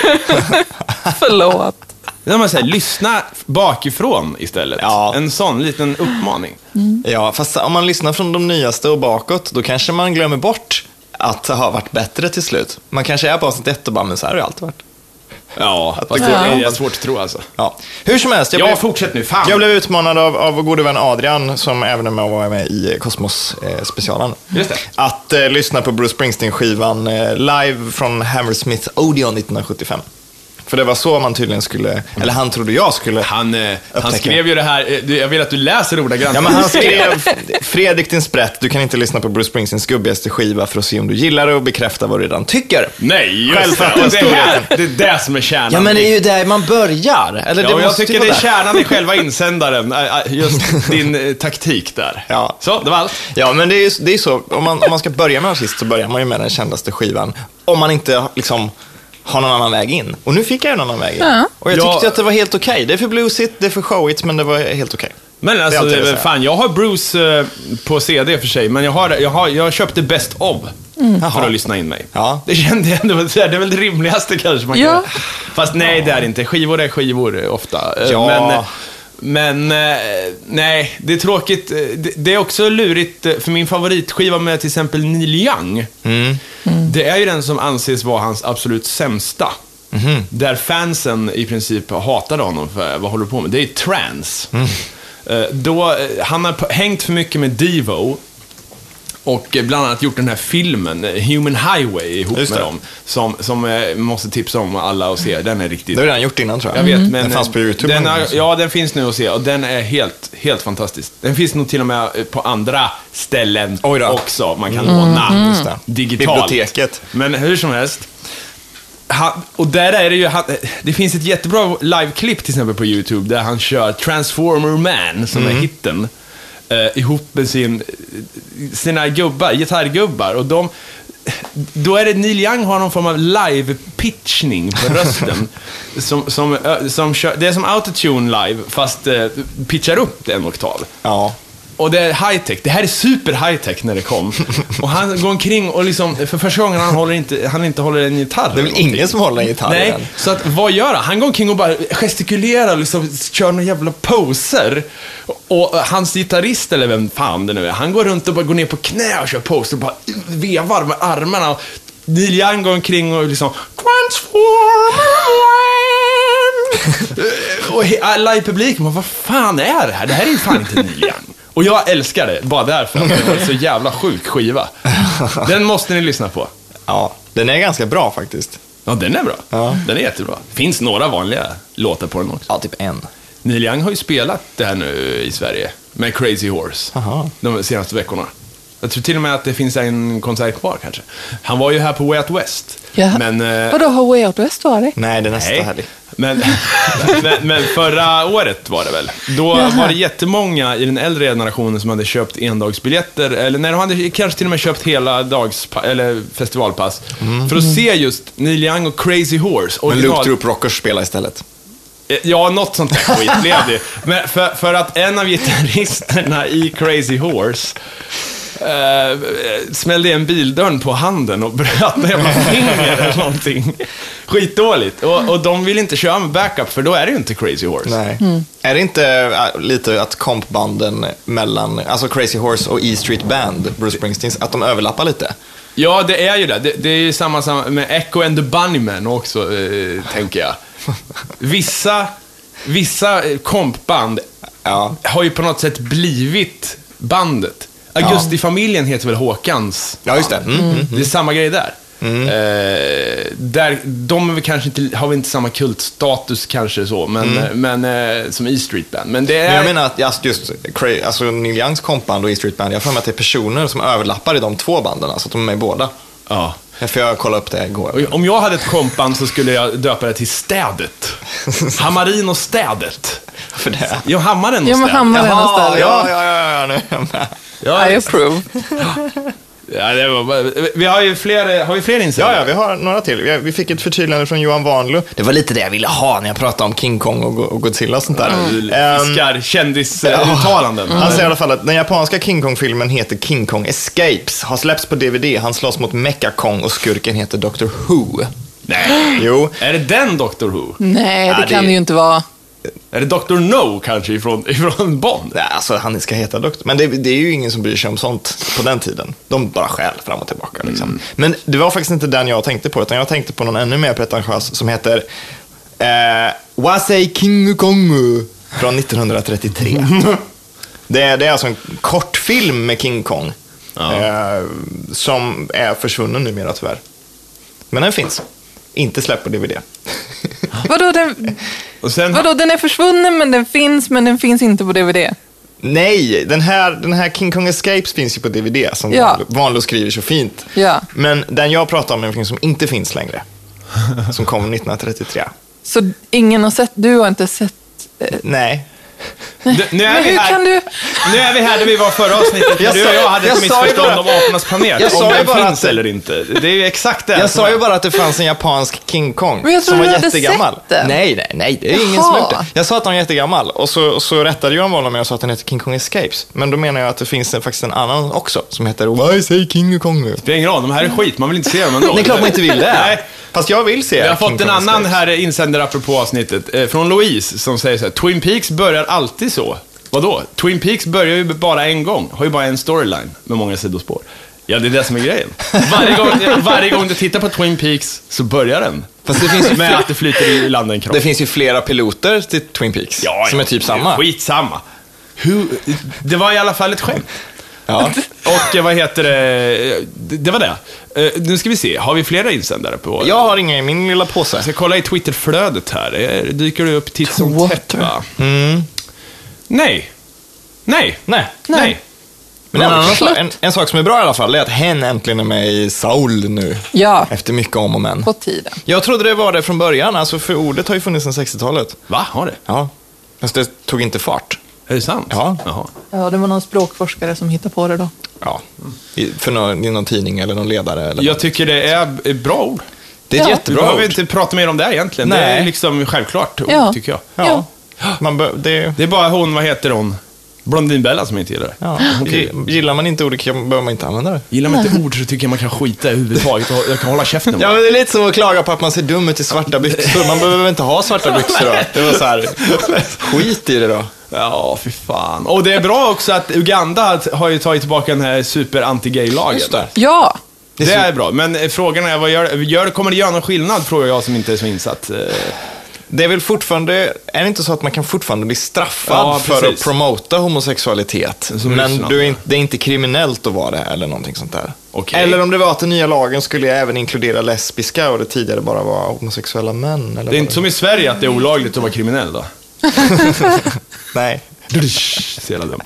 Speaker 3: Förlåt.
Speaker 2: När man säger lyssna bakifrån istället.
Speaker 1: Ja.
Speaker 2: En sån liten uppmaning.
Speaker 1: Ja, fast om man lyssnar från de nyaste och bakåt, då kanske man glömmer bort att det har varit bättre till slut. Man kanske är på avsnitt ett och bara, men så här har det alltid varit.
Speaker 2: Ja,
Speaker 1: Att
Speaker 2: fast
Speaker 1: det
Speaker 2: det
Speaker 1: går-
Speaker 2: är svårt att tro alltså.
Speaker 1: Ja. Hur som helst, jag
Speaker 2: Ja,
Speaker 1: blev-
Speaker 2: fortsätt nu, fan.
Speaker 1: Jag blev utmanad av, av vår gode vän Adrian, som även är med och var med i eh, Kosmos-specialen.
Speaker 2: Just det.
Speaker 1: Att eh, lyssna på Bruce Springsteen-skivan eh, live från Hammersmith Odeon 1975. För det var så man tydligen skulle, eller han trodde jag skulle.
Speaker 2: Han, eh, han
Speaker 1: Upptäcker.
Speaker 2: skrev ju det här, eh, du- jag vill att du läser ordagrant.
Speaker 1: Ja, men han skrev, Fredrik din sprätt, du kan inte lyssna på Bruce Springsteens gubbigaste skiva för att se om du gillar det och bekräfta vad du redan tycker.
Speaker 2: Nej, just det.
Speaker 1: Självfattar
Speaker 2: Och det, här,
Speaker 1: storheten.
Speaker 2: det är det som är kärnan.
Speaker 1: Ja, men det är ju där man börjar. Eller det
Speaker 2: Ja, och jag
Speaker 1: måste ju
Speaker 2: tycker det
Speaker 1: vara
Speaker 2: är
Speaker 1: där.
Speaker 2: kärnan i själva insändaren, eh, eh, just din eh, taktik där.
Speaker 1: Ja.
Speaker 2: Så, det var allt.
Speaker 1: Ja, men det är ju det är ju så. Om man, om man ska börja med en artist så börjar man ju med den kändaste skivan. Om man inte liksom har någon annan väg in. Och nu fick jag en annan väg in.
Speaker 3: Ja.
Speaker 1: Och jag
Speaker 2: Ja.
Speaker 1: tyckte att det var helt okej. Det är för bluesigt, det är för showigt, men det var helt okej.
Speaker 2: Men alltså,
Speaker 1: alltid
Speaker 2: det är väl
Speaker 1: så.
Speaker 2: fan, jag har Bruce eh, på CD för sig, men jag, har, jag, har, jag köpte Best of för
Speaker 1: Mm. Jaha.
Speaker 2: att lyssna in mig.
Speaker 1: Ja.
Speaker 2: Det kände jag ändå, så här, det är väl det rimligaste kanske man
Speaker 3: Ja.
Speaker 2: kan Fast nej, det är det inte. Skivor är skivor eh, ofta. Eh,
Speaker 1: Ja.
Speaker 2: Men, eh, men eh, nej, det är tråkigt. Eh, Det, det är också lurigt, eh, för min favoritskiva med till exempel Neil Young, det är ju den som anses vara hans absolut sämsta.
Speaker 1: Mhm.
Speaker 2: Där fansen i princip hatade honom för vad håller du på med? Det är trans.
Speaker 1: Mm.
Speaker 2: Eh, Då, eh, han har p- hängt för mycket med Devo och eh, bland annat gjort den här filmen, eh, Human Highway, ihop
Speaker 1: Just
Speaker 2: med
Speaker 1: det.
Speaker 2: dem. Som, som eh, måste tipsa om alla och se. Den är riktigt...
Speaker 1: Det har vi redan gjort innan tror jag.
Speaker 2: Jag vet, men... eh,
Speaker 1: den fanns på YouTube. Mm.
Speaker 2: Den
Speaker 1: någon
Speaker 2: har,
Speaker 1: gång.
Speaker 2: ja, den finns nu att se och den är helt, helt fantastisk. Den finns nog till och med eh, på andra ställen
Speaker 1: Oj då. Mm.
Speaker 2: också. Man kan låna
Speaker 1: det.
Speaker 2: digitalt.
Speaker 1: Biblioteket.
Speaker 2: Men hur som helst. han, och där är det ju, han, det finns ett jättebra liveklipp till exempel på YouTube där han kör Transformer Man, som är hitten, eh, ihop med sin, sina gubbar, gitarrgubbar. Och de, då är det Neil Young har någon form av live-pitchning på rösten. som, som, ö, som kör, det är som autotune live, fast eh, pitchar upp en oktav.
Speaker 1: Ja.
Speaker 2: Och det är high-tech. Det här är super high-tech när det kom. Och han går omkring och liksom, för första gången han håller inte, han inte håller en gitarr.
Speaker 1: Det är väl
Speaker 2: eller någonting.
Speaker 1: ingen som håller en gitarr i
Speaker 2: Nej,
Speaker 1: den.
Speaker 2: så att vad gör han? Han går omkring och bara gestikulerar och liksom kör några jävla poser. Och hans gitarrist, eller vem fan det nu är, han går runt och bara går ner på knä och kör poser och bara vevar med armarna. Och Neil Young går omkring och liksom Transformer Och he- alla i publiken bara, vad fan är det här? Det här är ju fan inte Neil Young. Och jag älskar det, bara därför. att Det var en så jävla sjuk skiva. Den måste ni lyssna på.
Speaker 1: Ja, den är ganska bra faktiskt.
Speaker 2: Ja, den är bra.
Speaker 1: Ja.
Speaker 2: Den är jättebra. Finns några vanliga låtar på den också.
Speaker 1: Ja, typ en.
Speaker 2: Neil Young har ju spelat det här nu i Sverige med Crazy Horse
Speaker 1: Aha.
Speaker 2: de senaste veckorna. Jag tror till och med att det finns en konsert kvar kanske. Han var ju här på Way Out West.
Speaker 3: Ja.
Speaker 2: Men, eh,
Speaker 3: Vadå, har Way Out West varit?
Speaker 1: Nej, det är nästa helg.
Speaker 2: nej. Men, men, men förra året var det väl. Då
Speaker 3: Jaha.
Speaker 2: var det jättemånga i den äldre generationen som hade köpt endagsbiljetter, eller nej, de hade kanske till och med köpt hela dags, eller festivalpass. För att se just Neil Young och Crazy Horse.
Speaker 1: Mm. Men
Speaker 2: original-
Speaker 1: Luke Troop Rockers spelar istället.
Speaker 2: Eh, Ja, något sånt där skit blev det ju. Men för, för att en av gitarristerna i Crazy Horse eh, smällde igen bildörren på handen och bröt en jävla finger eller någonting. Skitdåligt. Och, och de vill inte köra med backup, för då är det ju inte Crazy Horse.
Speaker 1: Nej. Är det inte äh, lite att kompbanden mellan, alltså Crazy Horse och E Street Band, Bruce Springsteens, att de överlappar lite?
Speaker 2: Ja, det är ju det. Det, det är ju samma, samma med Echo and the Bunnymen också, eh, tänker jag. Vissa, vissa eh, kompband
Speaker 1: Ja.
Speaker 2: har ju på något sätt blivit bandet. Augustifamiljen heter väl Håkans
Speaker 1: Ja, just det. Mm. Mm.
Speaker 2: Det är samma grej där. Eh, där de är väl kanske inte, har väl inte samma kultstatus kanske så, men, men, eh, som E Street Band. Men det är...
Speaker 1: Mm. Men jag menar att just, just Cra- alltså Neil Youngs kompband och E Street Band, jag har för mig att det är personer som överlappar i de två banden, alltså att de är med i båda.
Speaker 2: ja.
Speaker 1: För jag kollade upp det igår.
Speaker 2: Och Om jag hade ett kompband så skulle jag döpa det till Städet. Hammarin och Städet.
Speaker 1: För det.
Speaker 2: Jo, Hammaren och
Speaker 3: Ja, men
Speaker 2: Städet.
Speaker 3: Hammaren och
Speaker 1: Jaha,
Speaker 3: Städet.
Speaker 1: ja, ja, ja, ja, nu är jag med.
Speaker 2: Ja,
Speaker 3: I approve.
Speaker 2: ja, det var, bara- vi har ju fler, har vi fler insändare?
Speaker 1: Ja, ja, vi har några till. Vi- Vi fick ett förtydligande från Johan Wanlu. Det var lite det jag ville ha när jag pratade om King Kong och Go- och Godzilla och sånt där. Ehm,
Speaker 2: Fiskar kändisuttalanden.
Speaker 1: Han säger i alla fall att den japanska King Kong-filmen heter King Kong Escapes, har släppts på DVD, han slåss mot Mecha Kong och skurken heter Dr. Who.
Speaker 2: Nej.
Speaker 1: Jo,
Speaker 2: Är det den Doctor Who?
Speaker 3: Nej, det
Speaker 1: Ja, det-
Speaker 3: kan det ju inte vara.
Speaker 2: Är det Doctor No kanske ifrån, ifrån Bond?
Speaker 1: nej, alltså han ska heta Dr. Men det, det är ju ingen som bryr sig om sånt på den tiden. De bara skäl fram och tillbaka liksom. Men det var faktiskt inte den jag tänkte på, utan jag tänkte på någon ännu mer pretentiös som heter eh, Wasei King Kong från 1933. Det är, det är alltså en kortfilm med King Kong. Eh, som är försvunnen numera tyvärr. Men den finns. Inte släppt på DVD.
Speaker 3: Vadå den,
Speaker 2: Och sen,
Speaker 3: vadå, den är försvunnen men den finns, men den finns inte på DVD?
Speaker 1: Nej, den här, den här King Kong Escapes finns ju på DVD, som
Speaker 3: Ja.
Speaker 1: Vanlo- Vanlo skriver så fint.
Speaker 3: Ja.
Speaker 1: Men den jag pratar om är en film som inte finns längre. Som kom 1933.
Speaker 3: Så ingen har sett, du har inte sett...
Speaker 1: Nej.
Speaker 2: D- nu, är
Speaker 3: Men
Speaker 2: vi
Speaker 3: hur
Speaker 2: här,
Speaker 3: kan du...
Speaker 2: nu är vi här där vi var förra avsnittet,
Speaker 1: Jag
Speaker 2: jag du
Speaker 1: sa-
Speaker 2: och jag hade
Speaker 1: jag
Speaker 2: ett
Speaker 1: sa ju
Speaker 2: missförstånd
Speaker 1: bara-
Speaker 2: om apornas planet,
Speaker 1: Jag sa
Speaker 2: om
Speaker 1: ju
Speaker 2: den
Speaker 1: bara
Speaker 2: finns
Speaker 1: att-
Speaker 2: eller inte. Det är ju exakt det.
Speaker 1: Jag sa ju bara att det fanns en japansk King Kong
Speaker 3: Men jag
Speaker 1: som
Speaker 3: trodde
Speaker 1: var
Speaker 3: du hade
Speaker 1: jättegammal.
Speaker 3: sett den.
Speaker 1: Nej, nej, nej, det är ingen som
Speaker 3: Jaha.
Speaker 1: har gjort det. Jag sa att den var jättegammal och så, så rättade Johan Wåhlund mig och sa att den heter King Kong Escapes. Men då menar jag att det finns en- faktiskt en annan också som heter Why say King Kong? Det
Speaker 2: Det är ingen roll, de här är skit, man vill inte se dem ändå.
Speaker 1: är klart man inte vill det.
Speaker 2: Nej.
Speaker 1: Fast jag vill se
Speaker 2: Jag har
Speaker 1: King
Speaker 2: fått en
Speaker 1: Kong
Speaker 2: annan
Speaker 1: Escapes.
Speaker 2: här insändare apropå avsnittet, eh, från Louise, som säger så här, Twin Peaks börjar alltid så. Vadå? Twin Peaks börjar ju bara en gång, har ju bara en storyline med många sidospår. Ja, det är det som är grejen. Varje gång, eh, varje gång du tittar på Twin Peaks så börjar den.
Speaker 1: Fast det finns ju
Speaker 2: Med att det flyter i land en kropp.
Speaker 1: Det finns ju flera piloter till Twin Peaks
Speaker 2: Ja,
Speaker 1: som
Speaker 2: ja,
Speaker 1: är typ
Speaker 2: det
Speaker 1: samma.
Speaker 2: Skitsamma. Hur, det var i alla fall ett skämt.
Speaker 1: Ja.
Speaker 2: Och eh, vad heter det? Det det var det. Eh, Nu ska vi se, har vi flera insändare på?
Speaker 1: Jag har inga i min lilla
Speaker 2: Jag
Speaker 1: påse.
Speaker 2: ska kolla i Twitterflödet här. Eh, Dyker det upp titt som tätt
Speaker 1: Mm.
Speaker 3: Twitter.
Speaker 2: va? Nej. Nej.
Speaker 1: Nej.
Speaker 2: Nej.
Speaker 1: Men en,
Speaker 3: Ja,
Speaker 1: annan,
Speaker 3: klart.
Speaker 1: sak- en, en sak som är bra i alla fall är att hen äntligen är med i Saul nu.
Speaker 3: Ja.
Speaker 1: Efter mycket om och men.
Speaker 3: På tiden.
Speaker 1: Jag trodde det var det från början, alltså för ordet har ju funnits sedan 60-talet.
Speaker 2: Va, har det?
Speaker 1: Ja. Fast det tog inte fart.
Speaker 2: Är det sant?
Speaker 1: Ja.
Speaker 2: Jaha.
Speaker 3: Ja, det var någon språkforskare som hittade på det då.
Speaker 1: Ja. I, för någon, i någon tidning eller någon ledare. Eller
Speaker 2: Jag tycker det är b- bra ord.
Speaker 1: det är ett
Speaker 3: Ja.
Speaker 2: Vi
Speaker 1: jättebra
Speaker 2: behöver
Speaker 1: ord.
Speaker 2: inte prata mer om det egentligen. Det
Speaker 1: Nej.
Speaker 2: är liksom självklart ord,
Speaker 3: Ja.
Speaker 2: tycker jag.
Speaker 1: Ja. Man bör, det,
Speaker 2: Det är bara hon, vad heter hon? Blondinbella som inte gillar det.
Speaker 1: ja. Gi- Gillar man inte ordet kan- behöver man inte använda det.
Speaker 2: Gillar man inte ord så tycker jag man kan skita i överhuvudtaget. och Jag kan hålla käften.
Speaker 1: Ja, men det är lite som att klaga på att man ser dum ut i svarta byxor. Man behöver inte ha svarta byxor då. Det var så här, skit i det då.
Speaker 2: Ja, fy fan. Och det är bra också att Uganda har ju tagit tillbaka den här super-anti-gay-lagen.
Speaker 1: Just det.
Speaker 3: Ja,
Speaker 2: Det är bra, men eh, frågan är, vad gör, gör, kommer det göra någon skillnad? Frågar jag som inte är så insatt. Eh,
Speaker 1: Det är väl fortfarande, är det inte så att man kan fortfarande bli straffad
Speaker 2: Ja,
Speaker 1: för att
Speaker 2: precis.
Speaker 1: promota homosexualitet?
Speaker 2: Som
Speaker 1: men
Speaker 2: Ryssland.
Speaker 1: du är inte, det är inte kriminellt att vara det eller någonting sånt där.
Speaker 2: Okej.
Speaker 1: Eller om det var att den nya lagen skulle jag även inkludera lesbiska och det tidigare bara var homosexuella män. Eller
Speaker 2: Det är
Speaker 1: vad
Speaker 2: inte som i Sverige att det är olagligt att vara kriminell då.
Speaker 1: Nej.
Speaker 2: Så jävla dumt.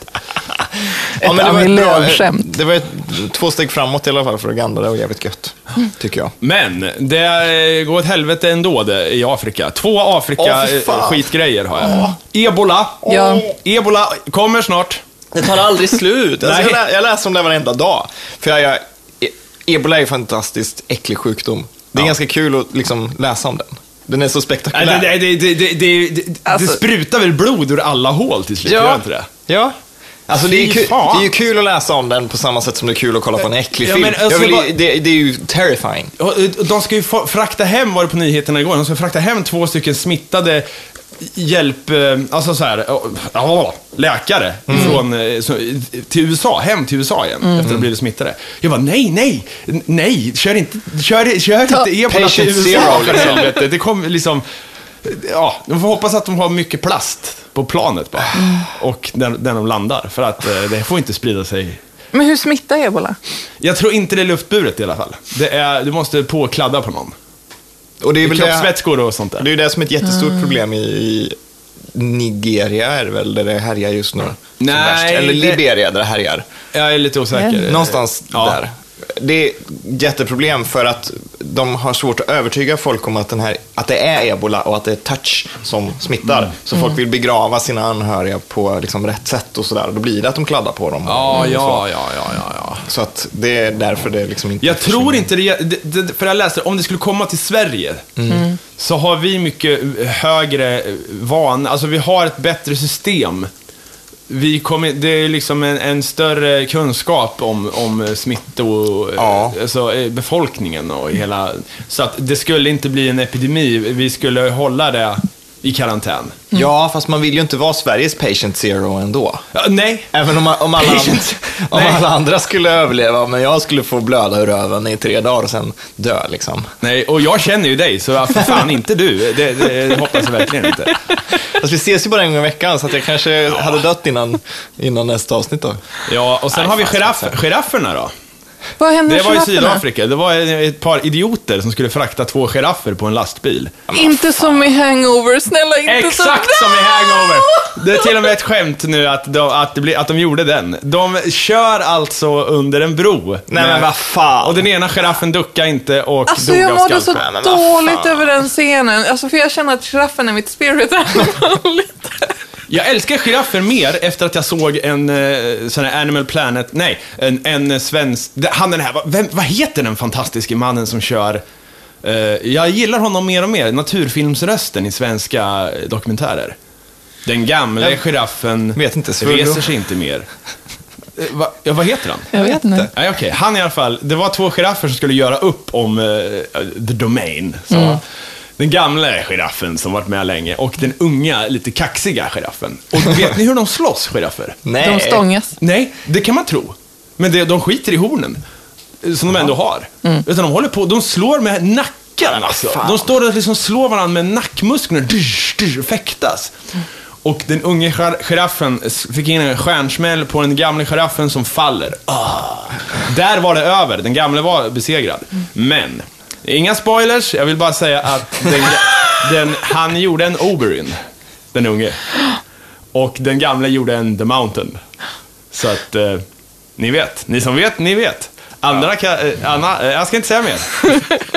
Speaker 1: Ja, men det, var
Speaker 3: Annie
Speaker 1: ett bra,
Speaker 3: Lööf-skämt.
Speaker 1: det var ett, två steg framåt i alla fall för Uganda, det var jävligt gött.
Speaker 2: Mm.
Speaker 1: Tycker jag.
Speaker 2: Men, det eh, går åt helvete ändå det, i Afrika. Två
Speaker 1: Åh, fy fan.
Speaker 2: Afrika-skitgrejer har jag. Ebola.
Speaker 3: Ja.
Speaker 2: Ebola kommer snart.
Speaker 1: Det tar aldrig slut. Alltså, jag,
Speaker 2: Nej.
Speaker 1: lä, jag läser om det varenda dag. För jag, jag, e- ebola är ju fantastiskt äcklig sjukdom. Det är
Speaker 2: Ja.
Speaker 1: ganska kul att liksom läsa om den. Den är så
Speaker 2: Nej,
Speaker 1: spektakulär.
Speaker 2: det, det, det, det, det, det, det,
Speaker 3: Alltså-
Speaker 2: det sprutar väl blod ur alla hål till slut, gör det inte det?
Speaker 1: Ja. Alltså det är, ju
Speaker 2: Fy
Speaker 1: kul, det
Speaker 2: fan.
Speaker 1: är ju kul att läsa om den på samma sätt som det är kul att kolla på en äcklig
Speaker 2: Ja,
Speaker 1: film.
Speaker 2: men alltså
Speaker 1: jag vill,
Speaker 2: bara-
Speaker 1: ju- det, det är ju terrifying.
Speaker 2: Och, eh, De ska ju få- frakta hem, var det på nyheterna igår, de ska frakta hem två stycken smittade hjälp, eh, alltså så här, eh, ja, läkare
Speaker 1: Mm.
Speaker 2: från, eh, så, till USA, hem till USA igen efter att ha blivit smittade. Jag bara, nej, nej, n- nej, kör inte, kör, kör inte ebola till
Speaker 1: patient
Speaker 2: USA
Speaker 1: zero,
Speaker 2: för
Speaker 1: liksom.
Speaker 2: helvete. Det kommer liksom, ja, de får hoppas att de har mycket plast på planet bara.
Speaker 1: Mm.
Speaker 2: Och där, där de landar, för att eh, det får inte sprida sig
Speaker 3: men hur smittar ebola?
Speaker 2: jag tror inte det är luftburet i alla fall. Det är, du måste påkladda på någon.
Speaker 1: Och det är väl det,
Speaker 2: Kroppsvätskor och sånt där.
Speaker 1: det är ju det som är ett jättestort problem i, i Nigeria är det väl, där det härjar just nu. som
Speaker 2: Nej,
Speaker 1: värst. Eller
Speaker 2: det-
Speaker 1: Liberia där det härjar.
Speaker 2: Jag är lite osäker.
Speaker 1: Någonstans
Speaker 2: Eh, Ja.
Speaker 1: där. Det är ett jätteproblem för att de har svårt att övertyga folk om att, den här, att det är ebola och att det är touch som smittar.
Speaker 2: Mm.
Speaker 1: Så folk vill begrava sina anhöriga på liksom rätt sätt och sådär. Och då blir det att de kladdar på dem.
Speaker 2: Ja,
Speaker 1: Och Mm. så.
Speaker 2: ja, ja, ja, ja, ja.
Speaker 1: Så att det är därför det liksom inte
Speaker 2: Jag tror
Speaker 1: försvinner.
Speaker 2: inte det, det, det för jag läste, om det skulle komma till Sverige,
Speaker 1: Mm.
Speaker 2: så har vi mycket eh, högre van, alltså vi har ett bättre system. Vi kommer, det är liksom en, en större kunskap om, om smitto,
Speaker 1: Ja.
Speaker 2: alltså eh, befolkningen och hela, så att det skulle inte bli en epidemi, vi skulle hålla det i karantän.
Speaker 1: Ja, fast man vill ju inte vara Sveriges patient zero ändå.
Speaker 2: Ja, nej,
Speaker 1: Även om, om, alla,
Speaker 2: Patient-
Speaker 1: om
Speaker 2: Nej.
Speaker 1: alla andra skulle överleva, men jag skulle få blöda ur röven i tre dagar och sen dö liksom.
Speaker 2: nej, och jag känner ju dig, så för fan inte du. Det, det, det hoppas jag verkligen inte.
Speaker 1: Fast vi ses ju bara en gång i veckan, så att jag kanske hade dött innan, innan nästa avsnitt då.
Speaker 2: Ja, och sen
Speaker 1: Nej,
Speaker 2: har vi
Speaker 1: fan,
Speaker 2: giraff, girafferna då.
Speaker 3: Vad händer
Speaker 2: Det
Speaker 3: med
Speaker 2: var i
Speaker 3: alltså. girafferna?
Speaker 2: Sydafrika. Det var ett par idioter som skulle frakta två giraffer på en lastbil.
Speaker 3: Inte som i hangover, snälla inte som...
Speaker 2: Exakt som i Hangover! Det är till och med ett skämt nu att de, att det blir, att de gjorde den. De kör alltså under en bro.
Speaker 1: Nej men vad fan.
Speaker 2: Och den ena giraffen duckar inte och
Speaker 3: Alltså
Speaker 2: dog
Speaker 3: jag
Speaker 2: av
Speaker 3: mådde så
Speaker 2: skalpen.
Speaker 1: men vad
Speaker 3: dåligt
Speaker 1: fan.
Speaker 3: över den scenen. Alltså för jag känner att giraffen är mitt spirit animal. lite.
Speaker 2: Jag älskar giraffer mer efter att jag såg en eh, sån här Animal Planet, nej, en, en eh, svensk, det- han den här, vad- vem, vad heter den fantastiske mannen som kör eh, jag gillar honom mer och mer, naturfilmsrösten i svenska eh, dokumentärer. Den gamla
Speaker 1: Jag
Speaker 2: giraffen
Speaker 1: vet inte, Svullo.
Speaker 2: reser sig inte mer. Eh, va, ja, vad heter han?
Speaker 3: Jag vet inte.
Speaker 2: Nej, okej. Han i alla fall, det var två giraffer som skulle göra upp om eh, The Domain. Så. Den gamla giraffen som varit med länge och den unga, lite kaxiga giraffen. Och vet ni hur de slåss, giraffer?
Speaker 1: Nej.
Speaker 3: De stångas.
Speaker 2: Nej, det kan man tro. Men det, de skiter i hornen, eh, som de ändå har. Utan de håller på, de slår med nacken alltså.
Speaker 1: fan.
Speaker 2: De står och liksom slår varandra med nackmusklerna, dysch, dysch, och fäktas. Och den unge gir- giraffen s- fick in en stjärnsmäll på den gamla giraffen som faller. Ah. Där var det över, den gamla var besegrad. Men, inga spoilers, jag vill bara säga att den, den, han gjorde en Oberyn, den unge. Och den gamla gjorde en The Mountain. Så att eh, Ni vet. Ni som vet, ni vet. Andra kan, eh, Anna, eh, jag ska inte säga mer.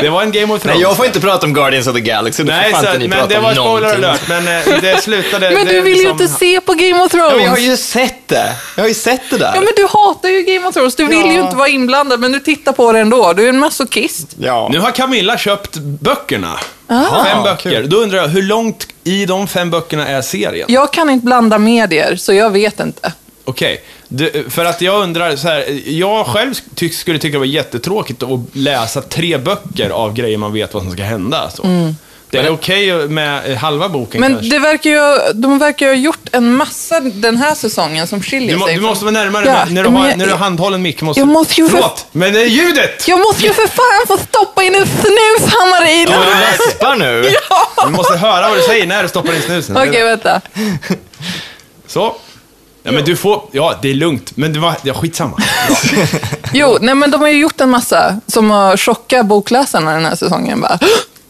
Speaker 2: Det var en Game of Thrones.
Speaker 1: Nej, jag får inte prata om Guardians of the Galaxy. Då får
Speaker 2: Nej,
Speaker 1: fan
Speaker 2: så,
Speaker 1: inte ni
Speaker 2: men
Speaker 1: prata
Speaker 2: det
Speaker 1: om
Speaker 2: var spoiler
Speaker 1: någonting.
Speaker 2: alert, men eh, det slutade...
Speaker 3: Men
Speaker 2: det
Speaker 3: du vill ju
Speaker 2: liksom-
Speaker 3: inte se på Game of
Speaker 1: Ja, men jag har
Speaker 3: Thrones!
Speaker 1: ju sett det. Jag har ju sett det där.
Speaker 3: Ja, men du hatar ju Game of Thrones. Du vill ju inte vara inblandad, men du tittar på det ändå. Du är en masochist.
Speaker 1: Ja.
Speaker 2: Nu har Camilla köpt böckerna. fem
Speaker 1: Ah,
Speaker 2: böcker.
Speaker 1: kul.
Speaker 2: Då undrar jag, hur långt i de fem böckerna är serien?
Speaker 3: Jag kan inte blanda medier, så jag vet inte.
Speaker 2: Okej, Du- för att jag undrar så här. Jag själv tyck, skulle tycka det var jättetråkigt att läsa tre böcker av grejer man vet vad som ska hända. Så. Det är okej med eh, halva boken
Speaker 3: Mm. Men
Speaker 2: kanske.
Speaker 3: det verkar ju, de verkar ju ha gjort en massa den här säsongen som skiljer
Speaker 2: Du, må,
Speaker 3: sig.
Speaker 2: du
Speaker 3: från-
Speaker 2: måste vara närmare
Speaker 3: Ja,
Speaker 2: när- när, du
Speaker 3: men
Speaker 2: har,
Speaker 3: jag-
Speaker 2: när du har handhållen mick. Måste,
Speaker 3: Jag måste ju för-
Speaker 2: Förlåt, men det är ljudet!
Speaker 3: Jag måste ju för fan få stoppa in en snushammare i
Speaker 1: Du
Speaker 3: den.
Speaker 1: läspar nu.
Speaker 2: Du måste höra vad du säger när du stoppar in snusen.
Speaker 3: Okej, vänta.
Speaker 2: Så. Ja, men du får... Ja, det är lugnt. Men det var... Ja, skitsamma.
Speaker 3: Jo, nej men de har ju gjort en massa som har chockat bokläsarna den här säsongen. Bara.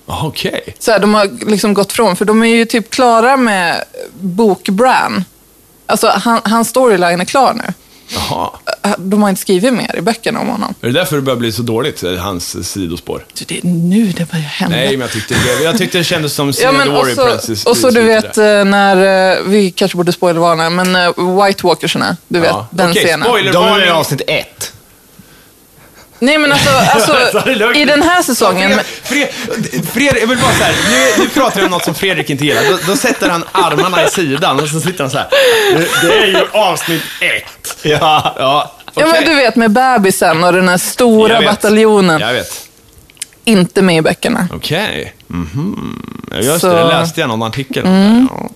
Speaker 2: Ja, Okej.
Speaker 3: Så här, de har liksom gått från, för de är ju typ klara med bokbran. Alltså, han, hans storyline är klar nu.
Speaker 2: Jaha.
Speaker 3: De har inte skrivit mer i böckerna om honom.
Speaker 2: Är det därför det börjar bli så dåligt, eh, hans sidospår?
Speaker 3: Så det är nu det börjar hända.
Speaker 2: Nej, men jag tyckte det, jag tyckte det kändes som
Speaker 3: Ja, men
Speaker 2: Theodore
Speaker 3: och,
Speaker 2: typ i
Speaker 3: så,
Speaker 2: Princess
Speaker 3: och så
Speaker 2: Princess
Speaker 3: du
Speaker 2: Peter.
Speaker 3: vet eh, när, eh, vi kanske borde spoilervarna, men eh, White Walkerserna, du vet,
Speaker 2: Ja.
Speaker 3: den
Speaker 2: Okej,
Speaker 3: scenen.
Speaker 2: spoiler-
Speaker 1: De är i avsnitt ett.
Speaker 3: Nej men alltså,
Speaker 2: Ta
Speaker 3: alltså
Speaker 2: det lugnt.
Speaker 3: i den här säsongen, men-
Speaker 2: Fred, Fred, Fred, jag vill bara så här, nu, nu pratar jag om något som Fredrik inte gillar. Då, då sätter han armarna i sidan och så sitter han så här. Det, det är ju avsnitt ett.
Speaker 1: Ja.
Speaker 2: Ja,
Speaker 3: ja, men
Speaker 2: okej.
Speaker 3: du vet med bebisen och den här stora
Speaker 2: Jag vet.
Speaker 3: bataljonen,
Speaker 2: Jag vet.
Speaker 3: inte med i böckerna.
Speaker 2: Okej. Mhm. Ja, Just
Speaker 3: Så- Mm.
Speaker 2: det, det läste jag någon artikel om det. Ja.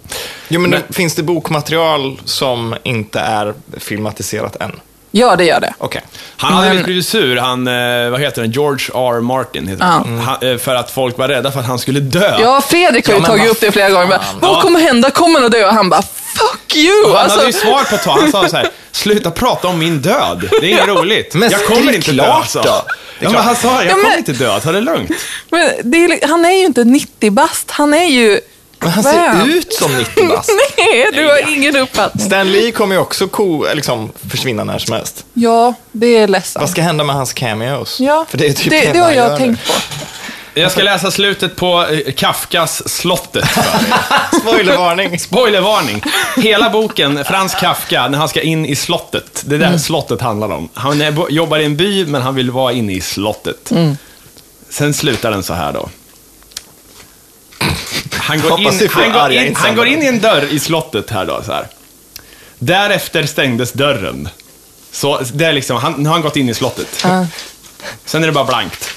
Speaker 1: Jo, men, det- finns det bokmaterial som inte är filmatiserat än?
Speaker 3: Ja, det gör det.
Speaker 1: Okej.
Speaker 2: Han hade
Speaker 3: Men-
Speaker 2: blivit blivit sur, han, eh, vad heter den, George R. Martin heter
Speaker 3: Ja.
Speaker 2: han. han. eh, För att folk var rädda för att han skulle dö.
Speaker 3: Ja, Fredrik har ju
Speaker 1: Ja, men
Speaker 3: tagit
Speaker 1: vad
Speaker 3: upp det flera gånger. Bara,
Speaker 1: fan.
Speaker 3: Vad
Speaker 2: Ja.
Speaker 3: kommer hända? Kommer han att dö? Och han bara, fuck you!
Speaker 2: Han
Speaker 3: Alltså,
Speaker 2: hade ju svar på ett tag. Han sa så här, sluta prata om min död. Det är inget roligt.
Speaker 1: Men
Speaker 2: jag kommer
Speaker 1: skrik
Speaker 2: inte dö.
Speaker 1: klart
Speaker 2: Alltså.
Speaker 1: då. Det är
Speaker 2: Ja, men
Speaker 1: klart.
Speaker 2: han sa, jag
Speaker 3: Ja, men-
Speaker 2: kommer inte dö. Ta det lugnt.
Speaker 3: men det är, li- han är ju inte 90 bast, han är ju...
Speaker 1: Men han
Speaker 3: vad är
Speaker 1: ser ut som 90 bast.
Speaker 3: Nej, du har ingen uppfattning.
Speaker 1: Stan Lee kommer ju också ko, liksom, försvinna när som helst.
Speaker 3: Ja, det är ledsamt.
Speaker 1: Vad ska hända med hans cameos?
Speaker 3: Ja,
Speaker 1: För det är typ
Speaker 3: det,
Speaker 1: enda
Speaker 3: det har
Speaker 1: han
Speaker 3: jag
Speaker 1: gör
Speaker 3: tänkt på.
Speaker 2: Jag ska läsa slutet på eh, Kafkas slottet.
Speaker 1: nu. Spoilervarning.
Speaker 2: Spoilervarning! Hela boken, Frans Kafka, när han ska in i slottet. Det är där slottet handlar om. Han är, bo- jobbar i en by, men han vill vara inne i slottet. Sen slutar den så här då. Han går,
Speaker 1: Hoppas
Speaker 2: in,
Speaker 1: vi får
Speaker 2: han, går
Speaker 1: arga
Speaker 2: in, han
Speaker 1: insändare.
Speaker 2: går in i en dörr i slottet här då, så här. Därefter stängdes dörren. Så det är liksom, han, nu har han gått in i slottet. Sen är det bara blankt.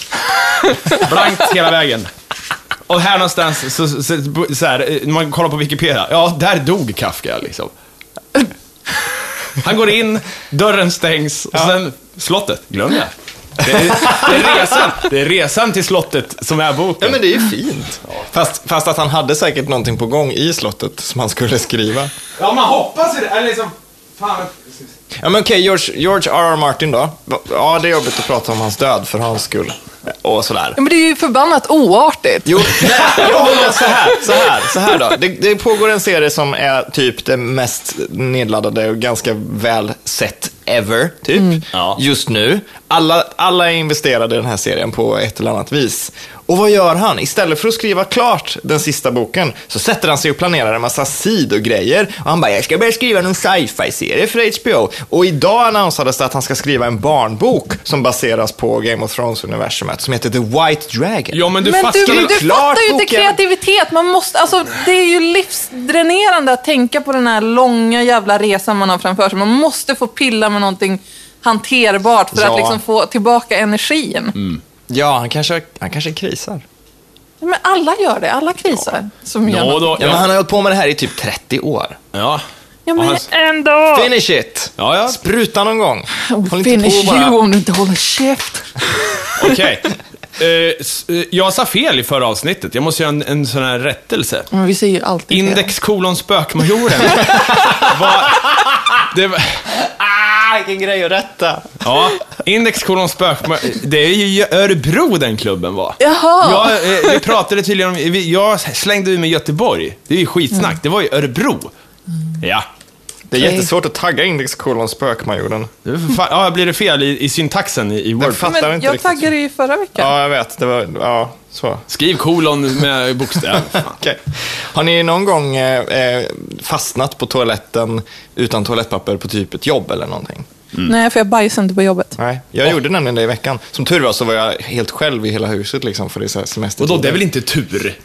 Speaker 2: Blankt hela vägen. Och här någonstans, så, så, så, så här, eh, när man kollar på Wikipedia, ja, där dog Kafka liksom. Han går in, dörren stängs och sen slottet. Glöm det. Det är, det, är resan, det är resan till slottet som är
Speaker 1: Ja,
Speaker 2: boken.
Speaker 1: men det är ju fint. Fast, fast att han hade säkert någonting på gång i slottet som han skulle skriva.
Speaker 2: Ja, man hoppas ju det. Eller liksom, fan.
Speaker 1: Ja, men okej, George, George R.R. Martin då. Ja, det är jobbigt att prata om hans död för hans skull. Och sådär.
Speaker 3: Ja, Men det är ju förbannat oartigt.
Speaker 1: Jo, nej, jag håller så här, så här, så här då. Det, det pågår en serie som är typ det mest nedladdade och ganska väl sett ever, typ,
Speaker 2: Ja.
Speaker 1: just nu. Alla, alla är investerade i den här serien på ett eller annat vis. Och vad gör han? Istället för att skriva klart den sista boken så sätter han sig och planerar en massa sidogrejer. Och han bara, jag ska börja skriva en sci-fi-serie för HBO. Och idag annonsades det att han ska skriva en barnbok som baseras på Game of Thrones-universumet som heter The White Dragon.
Speaker 2: Ja, men du
Speaker 3: men du,
Speaker 2: fattar
Speaker 3: men
Speaker 2: ju.
Speaker 3: du
Speaker 1: klart
Speaker 3: fattar ju inte
Speaker 1: boken.
Speaker 3: kreativitet. Man måste, alltså, det är ju livsdränerande att tänka på den här långa jävla resan man har framför sig. Man måste få pilla med någonting hanterbart för att
Speaker 1: Ja. Mm.
Speaker 3: liksom få tillbaka energin.
Speaker 1: Ja, han kanske, han kanske krisar.
Speaker 3: Men alla gör det. Alla krisar. Som gör
Speaker 2: Nå,
Speaker 3: något.
Speaker 2: då,
Speaker 1: Ja, men
Speaker 2: ja.
Speaker 1: han har hållit på med det här i typ 30 år.
Speaker 2: Ja.
Speaker 3: Ja,
Speaker 2: Och
Speaker 3: men
Speaker 2: hans-
Speaker 3: ändå.
Speaker 1: Finish it!
Speaker 2: Ja, ja.
Speaker 1: Spruta någon gång. Håll inte
Speaker 3: Oh,
Speaker 1: på
Speaker 3: Finish
Speaker 1: bara.
Speaker 3: you om du inte håller käft.
Speaker 2: Okej. Eh, s- eh, jag sa fel i förra avsnittet. Jag måste göra en, en sån här rättelse.
Speaker 3: Men vi säger ju alltid fel.
Speaker 2: Index kolon spökmajoren var... Det var
Speaker 1: Ah, vilken grej att rätta.
Speaker 2: ja, Index kolon spökmajoren. Det är ju i Örebro den klubben var.
Speaker 3: Jaha.
Speaker 2: Jag, eh, vi pratade tydligen om...
Speaker 3: Mm.
Speaker 2: vi- Jag slängde ur mig Göteborg. Det är ju skitsnack. Det var ju Örebro. Ja.
Speaker 1: Det är jättesvårt att tagga liksom index kolon spökmajoren.
Speaker 2: Det är för fan- Ja, blir det fel i, i syntaxen i, i Word?
Speaker 1: fattar
Speaker 3: Men
Speaker 1: inte
Speaker 3: jag
Speaker 1: riktigt.
Speaker 3: taggade ju förra veckan.
Speaker 1: Ja, jag vet. Det var, ja, så.
Speaker 2: Skriv kolon med bokstäver. Fan.
Speaker 1: Okej. Har ni någon gång eh, eh, fastnat på toaletten utan toalettpapper på typ ett jobb eller någonting?
Speaker 3: Nej, för jag bajsade inte på jobbet.
Speaker 1: Nej, jag gjorde nämligen det i veckan. Som tur var så var jag helt själv i hela huset liksom för det är så här semester.
Speaker 2: Och då, det är väl inte tur?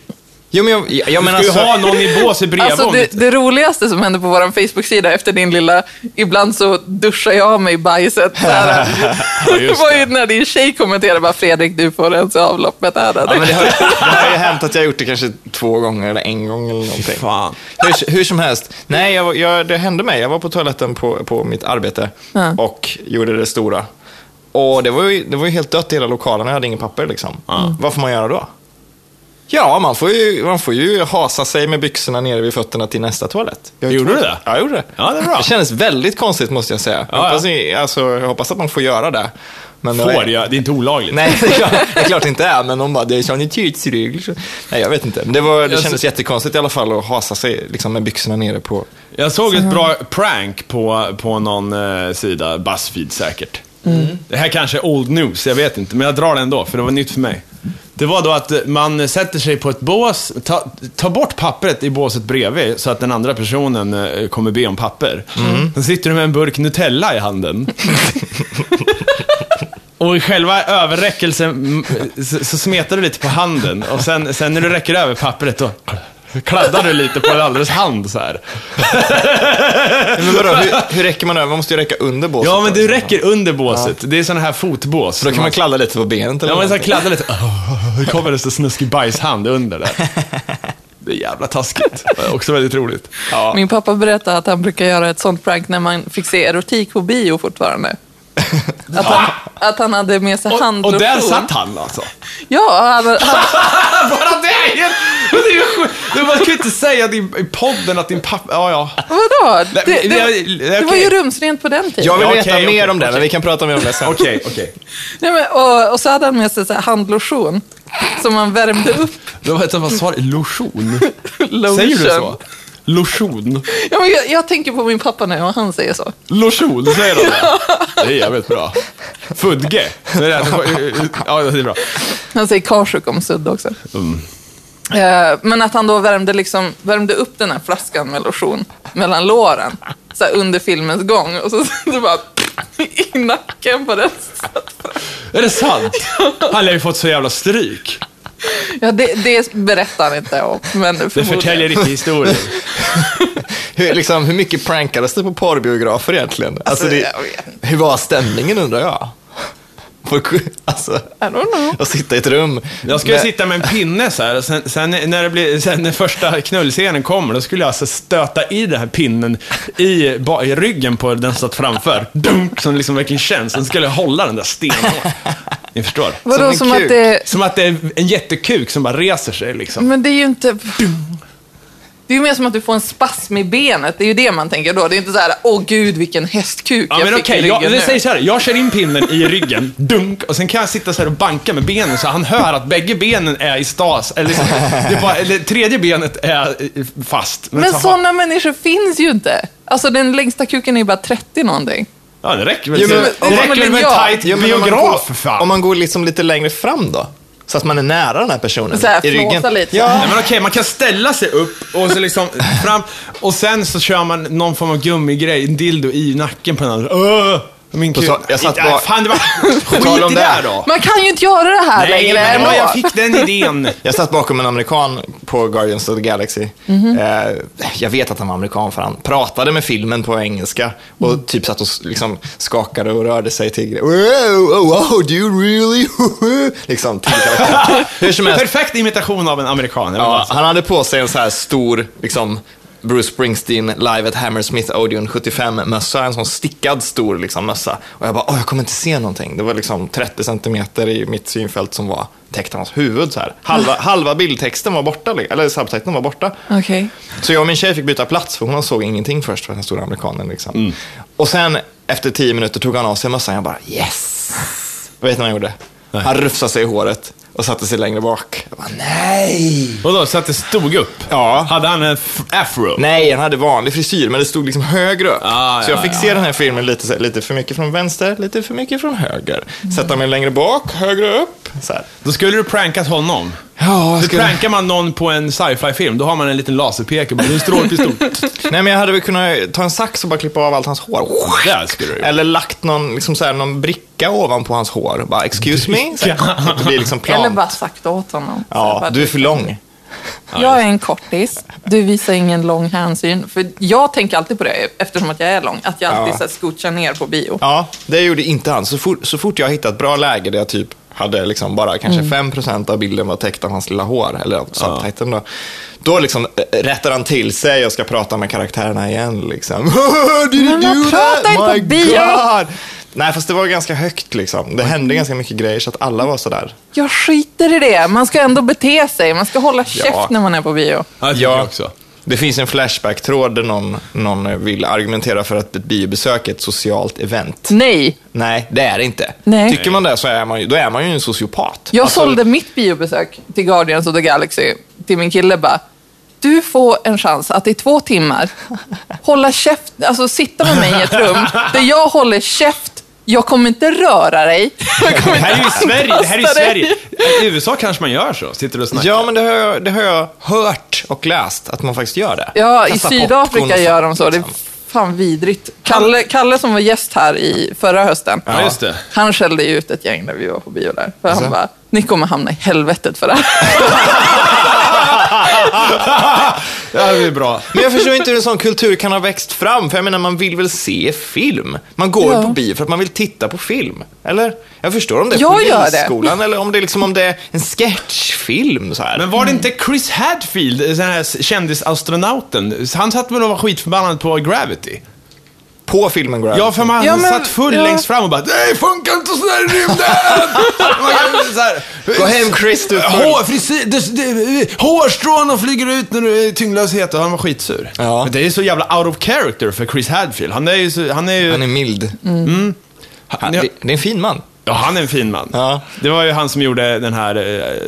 Speaker 1: Jo, men alltså- jag, jag, jag
Speaker 2: Du
Speaker 1: menar
Speaker 2: ska ju
Speaker 1: så...
Speaker 2: ha någon i båset bredvid
Speaker 3: Alltså
Speaker 2: om
Speaker 3: det,
Speaker 2: inte-
Speaker 3: det roligaste som hände på vår Facebook-sida efter din lilla, ibland så duschar jag av mig bajset. Så här. det var ju när din tjej kommenterade bara Fredrik, du får rensa avloppet här.
Speaker 1: Ja, men det, har, det har ju hänt att jag har gjort det kanske två gånger eller en gång eller någonting.
Speaker 2: Fan.
Speaker 1: Hur, hur som helst, nej, jag, var- jag, det hände mig. Jag var på toaletten på, på mitt arbete och gjorde det stora. Och det var, ju, det var ju helt dött i hela lokalen, jag hade inget papper liksom. Vad får man göra då? Ja, man får, ju, man får ju hasa sig med byxorna nere vid fötterna till nästa toalett. Jag har ju
Speaker 2: Gjorde
Speaker 1: två-
Speaker 2: du det?
Speaker 1: Ja, jag gjorde det.
Speaker 2: Ja, det är bra.
Speaker 1: kändes väldigt konstigt måste jag säga. jag,
Speaker 2: ja.
Speaker 1: hoppas, ni- alltså, jag hoppas att man får göra det. Men det var-
Speaker 2: Får jag? Det är inte olagligt.
Speaker 1: Nej, det är klart, det är klart det inte är, men de bara, det är sanitetsregler. Nej, jag vet inte. Men det, var, det
Speaker 2: Jag
Speaker 1: kändes
Speaker 2: ser-
Speaker 1: jättekonstigt i alla fall att hasa sig liksom, med byxorna nere på...
Speaker 2: Jag såg ett bra prank på, på någon eh, sida, Buzzfeed säkert. Det här kanske är old news, jag vet inte, men jag drar det ändå, för det var nytt för mig. Det var då att eh, man sätter sig på ett bås, ta, ta bort pappret i båset bredvid så att den andra personen eh, kommer be om papper. Sen sitter du med en burk Nutella i handen. Och i själva överräckelsen mm, så, så smetar du lite på handen och sen, sen när du räcker över pappret då kladdar du lite på den andres hand så här.
Speaker 1: Men vadå, hur, hur räcker man över? Man måste ju räcka under båset.
Speaker 2: Ja, men
Speaker 1: då,
Speaker 2: du
Speaker 1: liksom.
Speaker 2: räcker under båset. Det är sådana här fotbås.
Speaker 1: Då kan man kladda lite på benet eller
Speaker 2: Ja, man så
Speaker 1: någonting.
Speaker 2: här kladdar lite. Åh, Hur Mm. kommer det så snuskig bajshand under där? Det är jävla taskigt. Det är Också väldigt roligt. Ja.
Speaker 3: Min pappa berättade att han brukar göra ett sånt prank när man fick se erotik på bio fortfarande. Att han, att han hade med sig
Speaker 2: Och, och
Speaker 3: handlotion.
Speaker 2: där satt han alltså.
Speaker 3: Ja, han, han,
Speaker 2: Bara det! är helt- Det är ju sjukt. Du bara, kan ju inte säga att din, i podden att din pappa... Ja, ja.
Speaker 3: vadå? Det,
Speaker 2: Nej,
Speaker 3: det,
Speaker 2: men jag-
Speaker 3: det,
Speaker 2: okej.
Speaker 3: var ju rumsrent på den tiden.
Speaker 1: Jag vill
Speaker 2: Ja, okej,
Speaker 1: veta
Speaker 2: okej,
Speaker 1: mer om det,
Speaker 2: okej.
Speaker 1: men vi kan prata mer om det sen.
Speaker 2: Okej, okej.
Speaker 3: Nej, men, och, och så hade han med sig så här handlotion som man värmde upp.
Speaker 2: Det var ett vad sa du? Lotion?
Speaker 3: Lotion.
Speaker 2: Säger du så? Lotion?
Speaker 3: Ja, men jag, jag tänker på min pappa nu och han säger så.
Speaker 2: Lotion, säger de det? Det är jävligt bra. Fudge? Det är det här- Ja, det är bra.
Speaker 3: Han säger karsuk om sudd också.
Speaker 2: Mm.
Speaker 3: Eh, Men att han då värmde, liksom, värmde upp den här flaskan med lotion mellan låren så här under filmens gång och så, så bara i nacken på den.
Speaker 2: Är det sant? Han har ju fått så jävla stryk.
Speaker 3: Ja, det, det berättar han inte om. Men
Speaker 2: Det
Speaker 3: förmodligen.
Speaker 2: förtäljer inte historien.
Speaker 1: Hur, liksom, hur mycket prankades det på porrbiografer egentligen? Alltså,
Speaker 3: Alltså,
Speaker 1: det,
Speaker 3: jag vet
Speaker 1: hur var stämningen undrar jag? Folk, alltså,
Speaker 3: I don't know.
Speaker 1: att sitta i ett rum.
Speaker 2: Jag skulle
Speaker 1: med-
Speaker 2: sitta med en pinne så här, och sen, sen, när det blir, sen när första knullscenen kommer, då skulle jag alltså stöta i den här pinnen i, ba- i ryggen på den som satt framför. Dunk, som liksom verkligen känns. Sen skulle jag hålla den där stenhårt. Ni förstår?
Speaker 3: Vadå,
Speaker 1: Som
Speaker 3: som,
Speaker 1: en kuk.
Speaker 3: att det...
Speaker 2: Som att det är en jättekuk som bara reser sig liksom.
Speaker 3: Men det är ju inte... Det är ju mer som att du får en spasm i benet. Det är ju det man tänker då. Det är inte så här, åh gud vilken hästkuk
Speaker 2: Ja,
Speaker 3: jag
Speaker 2: men
Speaker 3: fick i
Speaker 2: okej,
Speaker 3: ryggen
Speaker 2: jag,
Speaker 3: nu.
Speaker 2: vi säger så här. Jag kör in pinnen i ryggen, dunk, och sen kan jag sitta så här och banka med benen så han hör att bägge benen är i stas. Eller, liksom, det är bara, eller tredje benet är eh, fast.
Speaker 3: Men
Speaker 2: så-
Speaker 3: sådana människor finns ju inte. Alltså den längsta kuken är ju bara 30 någonting.
Speaker 2: Ja, det räcker väl.
Speaker 1: Jo, men-
Speaker 2: det
Speaker 1: om
Speaker 3: man
Speaker 2: räcker väl
Speaker 3: vill
Speaker 2: med en
Speaker 3: jag-
Speaker 2: tight
Speaker 1: Ja, men om man
Speaker 2: biograf,
Speaker 1: går-
Speaker 2: för fan.
Speaker 1: Om man går liksom lite längre fram då? Så att man är nära den här personen
Speaker 3: Så här,
Speaker 1: i
Speaker 3: flåsa
Speaker 1: ryggen.
Speaker 3: lite.
Speaker 1: Ja,
Speaker 2: Nej, men okej, man kan ställa sig upp och så liksom fram och sen så kör man någon form av gummigrej, en dildo i nacken på den andra. Öh, min
Speaker 1: Och
Speaker 2: kul.
Speaker 1: så- jag satt
Speaker 2: Nej,
Speaker 1: bara-
Speaker 2: Fan, det var...
Speaker 1: tal
Speaker 2: Skit
Speaker 1: om
Speaker 2: i
Speaker 1: det
Speaker 2: det
Speaker 1: här.
Speaker 2: här då.
Speaker 3: Man kan ju inte göra det här
Speaker 2: Nej,
Speaker 3: längre
Speaker 2: men
Speaker 3: ändå.
Speaker 2: ja, jag fick den idén.
Speaker 1: Jag satt bakom en amerikan på Guardians of the Galaxy. Eh, jag vet att han var amerikan för han pratade med filmen på engelska och typ satt och s- liksom skakade och rörde sig till grejer. Wow, oh, wow, do you really? liksom till karaktären. Hur som helst,
Speaker 2: Perfekt imitation av en amerikan. eller vad
Speaker 1: ja,
Speaker 2: man säger.
Speaker 1: han hade på sig en så här stor, liksom, Bruce Springsteen live at Hammersmith Odeon 75-mössa, en sån stickad stor liksom, mössa. Och jag bara, åh, jag kommer inte se någonting. Det var liksom 30 centimeter i mitt synfält som var täckt av hans huvud. Så här. Halva, halva bildtexten var borta, li- eller subtexten var borta.
Speaker 3: Okej.
Speaker 1: Så jag och min tjej fick byta plats, för hon såg ingenting först, för den stora amerikanen. Liksom. Och sen, efter 10 minuter, tog han av sig mössan. Jag bara, yes! Vet ni vad han gjorde? Han rufsade sig i håret. och satte sig längre bak. Jag bara, nej!
Speaker 2: Vadå, så att det stod upp?
Speaker 1: Ja.
Speaker 2: Hade han en f- afro?
Speaker 1: Nej, han hade vanlig frisyr, men det stod liksom höger upp.
Speaker 2: Ah,
Speaker 1: så
Speaker 2: ja,
Speaker 1: jag fick
Speaker 2: ja.
Speaker 1: se den här filmen lite, så här, lite för mycket från vänster, lite för mycket från höger. Sätta mig längre bak, högre upp. Så här.
Speaker 2: Då skulle du prankat honom.
Speaker 1: Ja, jag
Speaker 2: Så
Speaker 1: skulle-
Speaker 2: prankar man någon på en sci-fi-film, då har man en liten laserpekare bara, "Du är en strålpistol.
Speaker 1: Nej, men jag hade väl kunnat ta en sax och bara klippa av allt hans hår.
Speaker 2: Där skulle du.
Speaker 1: Eller lagt någon, liksom så här, någon bricka ovanpå hans hår. Bara, excuse me? Så här, så att det blir liksom plant.
Speaker 3: Eller bara sagt åt honom. Så
Speaker 1: Ja,
Speaker 3: bara,
Speaker 1: du är för lång.
Speaker 3: Jag är en kortis, du visar ingen lång hänsyn. För jag tänker alltid på det, eftersom att jag är lång, att jag alltid
Speaker 1: Ja.
Speaker 3: så här, scoochar ner på bio.
Speaker 1: Ja, det gjorde inte han. Så fort, så fort jag hittade ett bra läge där jag typ hade liksom bara kanske
Speaker 3: Mm.
Speaker 1: 5% av bilden var täckt av hans lilla hår, eller av subtiteln då. Då liksom eh, rättar han till sig och ska prata med karaktärerna igen. Liksom. Did you
Speaker 3: Men man
Speaker 1: do
Speaker 3: pratar
Speaker 1: that?
Speaker 3: inte på
Speaker 1: My
Speaker 3: bio.
Speaker 1: God! Nej, fast det var ganska högt liksom. Det hände ganska mycket grejer så att alla var sådär.
Speaker 3: Jag skiter i det, man ska ändå bete sig, man ska hålla käft
Speaker 1: Ja.
Speaker 3: när man är på bio.
Speaker 2: Ja, det tycker jag också.
Speaker 1: Det finns en Flashback-tråd där någon, någon vill argumentera för att ett biobesök är ett socialt event.
Speaker 3: Nej,
Speaker 1: Nej, det är det inte.
Speaker 3: Nej.
Speaker 1: Tycker man det så är man ju, då är man ju en sociopat.
Speaker 3: jag
Speaker 1: Alltså-
Speaker 3: sålde mitt biobesök till Guardians of the Galaxy till min kille bara. Du får en chans att i två timmar hålla käft, alltså sitta med mig i ett rum där jag håller käft. Jag kommer inte röra dig. Jag kommer
Speaker 2: Här är ju
Speaker 3: inte
Speaker 2: Sverige, det här är ju
Speaker 3: anpassa dig.
Speaker 2: Sverige. I USA kanske man gör så, sitter och snackar.
Speaker 1: Ja, men det har, jag, det har jag hört och läst, att man faktiskt gör det.
Speaker 3: Ja, i
Speaker 1: Kasta popcorn
Speaker 3: Sydafrika
Speaker 1: och
Speaker 3: gör
Speaker 1: sånt,
Speaker 3: de så. Det är
Speaker 1: liksom.
Speaker 3: fan vidrigt. Kalle, Kalle som var gäst här i förra hösten,
Speaker 2: Ja, just det. Alltså?
Speaker 3: han skällde ju ut ett gäng när vi var på bio där. För han bara, ni kommer hamna i helvetet för det här.
Speaker 2: Det här blir bra.
Speaker 1: Men jag förstår inte hur en sån kultur kan ha växt fram, för jag menar, man vill väl se film? Man går
Speaker 3: Ja.
Speaker 1: på bio för att man vill titta på film, eller? Jag förstår om det är
Speaker 3: Jag gör det.
Speaker 1: polisskolan, eller om det, är liksom, om det är en sketchfilm så här.
Speaker 2: Men var det inte Chris Hadfield, den här kändisastronauten? Han satt väl och var skitförbannad på Gravity?
Speaker 1: På filmen går
Speaker 2: Ja, för man
Speaker 3: Ja, men-
Speaker 2: satt full
Speaker 3: ja.
Speaker 2: längst fram och bara Nej, funkar inte sådär i rymden! Man kan så här-
Speaker 1: Gå hem, Chris, du är full.
Speaker 2: Hår, frisyr, det, det, hårstrån och flyger ut när du är tyngdlöshet och han var skitsur.
Speaker 1: Ja.
Speaker 2: Men det är ju så jävla out of character för Chris Hadfield. Han är ju... Så, han är ju
Speaker 1: Han är mild.
Speaker 2: Mm.
Speaker 1: Han,
Speaker 2: han,
Speaker 1: det, det är en fin man.
Speaker 2: ja, han är en fin man.
Speaker 1: Ja.
Speaker 2: Det var ju han som gjorde den här eh,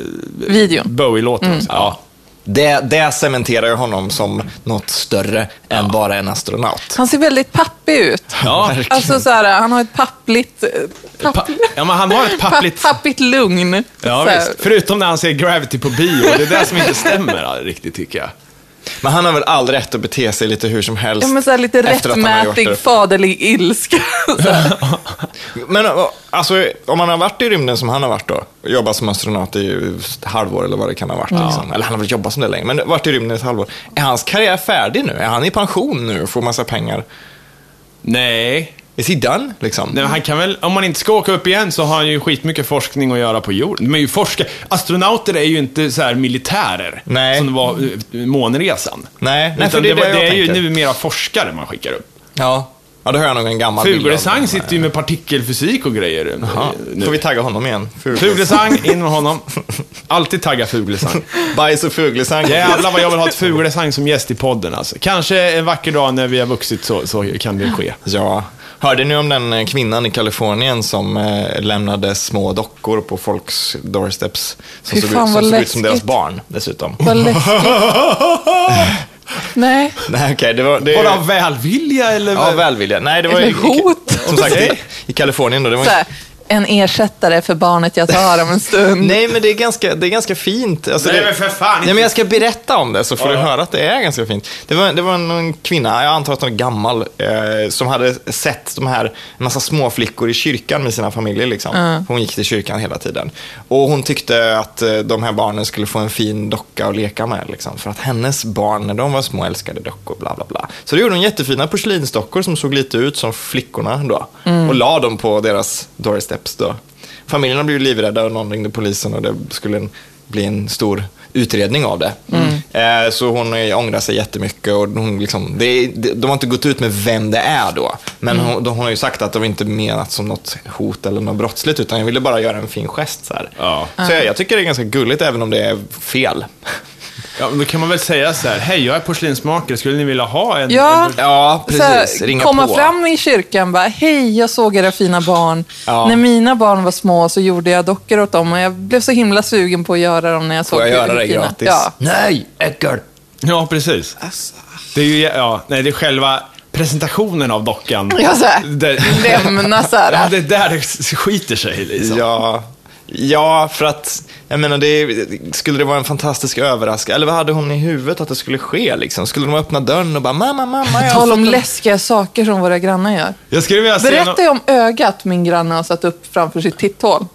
Speaker 3: Videon.
Speaker 2: Bowie-låten. också.
Speaker 1: Mm.
Speaker 2: Ja.
Speaker 1: Det, det cementerar ju honom som något större än bara en astronaut.
Speaker 3: Han ser väldigt pappig ut.
Speaker 2: Ja.
Speaker 3: Alltså så här, han har ett pappligt, eh,
Speaker 2: Pa-
Speaker 3: papp,
Speaker 2: ja, men han har ett pappligt...
Speaker 3: papp, pappligt lugn.
Speaker 2: Ja,
Speaker 3: Så här.
Speaker 2: visst. Förutom när han ser Gravity på bio. Det är det som inte stämmer riktigt, tycker jag.
Speaker 1: Men han har väl all rätt att bete sig lite hur som helst.
Speaker 3: Ja, men så här lite
Speaker 1: efter att han har gjort
Speaker 3: rättmätig,
Speaker 1: det.
Speaker 3: faderlig ilska. Så här.
Speaker 1: Men och, alltså, om man har varit i rymden som han har varit då, och jobbat som astronaut i ett halvår eller vad det kan ha varit. Liksom. Eller han har väl jobbat som det länge, men varit i rymden i ett halvår. Är hans karriär färdig nu? Är han i pension nu och får massa pengar?
Speaker 2: Nej.
Speaker 1: Is he done, liksom?
Speaker 2: Nej, men han kan väl, om man inte ska åka upp igen så har han ju skitmycket forskning att göra på jorden. Men ju forska, astronauter är ju inte så här militärer,
Speaker 1: Nej.
Speaker 2: som det var eh, månresan.
Speaker 1: Nej, nej,
Speaker 2: Utan
Speaker 1: för det är
Speaker 2: var-
Speaker 1: det jag
Speaker 2: det är ju
Speaker 1: tänker.
Speaker 2: numera forskare man skickar upp.
Speaker 1: Ja. ja, då har jag nog en gammal bild av
Speaker 2: Fuglesang
Speaker 1: honom.
Speaker 2: sitter ju med partikelfysik och grejer. Eh,
Speaker 1: Ja,
Speaker 2: Nu.
Speaker 1: får vi tagga honom igen?
Speaker 2: Fuglesang, in med honom. Alltid tagga Fuglesang.
Speaker 1: Bajs och fuglesang.
Speaker 2: Jävlar vad jag vill ha ett Fuglesang som gäst i podden alltså. Kanske en vacker dag när vi har vuxit så, så kan det ske.
Speaker 1: Ja. Hörde ni om den eh, kvinnan i Kalifornien som eh, lämnade små dockor på folks doorsteps? Som,
Speaker 3: Fy
Speaker 1: såg ut,
Speaker 3: fan,
Speaker 1: som
Speaker 3: vad
Speaker 1: såg ut som deras
Speaker 3: läskigt.
Speaker 1: barn, dessutom.
Speaker 3: Vad läskigt. Nej.
Speaker 1: Nej, okej, det var... Det,
Speaker 2: Bara av välvilja eller?
Speaker 1: ja, välvilja. Nej, det var
Speaker 3: Eller hot.
Speaker 1: I, som sagt, i, i Kalifornien då. Det var
Speaker 3: Så här, en ersättare för barnet jag tar om en stund.
Speaker 1: Nej, men det är ganska, det är ganska fint. Alltså,
Speaker 2: Nej,
Speaker 1: det,
Speaker 2: men för fan, inte-
Speaker 1: Nej, men jag ska berätta om det så får
Speaker 2: Ja,
Speaker 1: du
Speaker 2: ja.
Speaker 1: höra att det är ganska fint. Det var, det var en, en kvinna, jag antar att hon är gammal, eh, som hade sett de här, en massa småflickor i kyrkan med sina familjer. Liksom. Hon gick till kyrkan hela tiden. Och hon tyckte att eh, de här barnen skulle få en fin docka att leka med. Liksom, för att hennes barn, när de var små, älskade dockor. Bla, bla, bla. Så då gjorde hon jättefina porslinsdockor som såg lite ut som flickorna då. Och la dem på deras doorsteps då. Familjerna blev ju livrädda och någon ringde polisen och det skulle en, bli en stor utredning av det.
Speaker 3: Mm.
Speaker 1: Eh, så hon eh, ångrar sig jättemycket och hon liksom, det, är- det, de har inte gått ut med vem det är då. Men
Speaker 3: Mm.
Speaker 1: hon, de- hon har ju sagt att det var inte menat som något hot eller något brottsligt utan jag ville bara göra en fin gest. Så, här.
Speaker 2: Ja.
Speaker 1: så jag, jag tycker det är ganska gulligt även om det är fel.
Speaker 2: Ja, men då kan man väl säga så här, hej jag är porslinsmakare, skulle ni vilja ha en?
Speaker 3: Ja.
Speaker 2: en pors-
Speaker 1: Ja,
Speaker 3: Så här,
Speaker 1: precis. Ringa
Speaker 3: komma
Speaker 1: på.
Speaker 3: fram i kyrkan bara, hej, jag såg era fina barn.
Speaker 1: Ja.
Speaker 3: När mina barn var små så gjorde jag dockor åt dem och jag blev så himla sugen på att göra dem när jag såg
Speaker 1: Får jag
Speaker 3: hur
Speaker 1: göra det
Speaker 3: fina-"
Speaker 1: gratis?
Speaker 3: Ja.
Speaker 1: Nej, äckel!
Speaker 2: ja, precis.
Speaker 3: Alltså.
Speaker 2: Det är ju, ja, nej, det är själva presentationen av dockan.
Speaker 3: Jag så här,
Speaker 2: Det-
Speaker 3: lämna så här.
Speaker 2: Ja, det är där det s- skiter sig liksom.
Speaker 1: Ja, ja, för att, jag menar, det, är- skulle det vara en fantastisk överraskning? Eller vad hade hon i huvudet att det skulle ske? Liksom? Skulle de öppna dörren och bara, mamma, mamma, jag har
Speaker 3: Tal
Speaker 1: fått
Speaker 3: om
Speaker 1: en-
Speaker 3: läskiga saker som våra grannar gör.
Speaker 2: Jag skulle vilja se
Speaker 3: Berätta ju om ögat min granne har satt upp framför sitt titthål.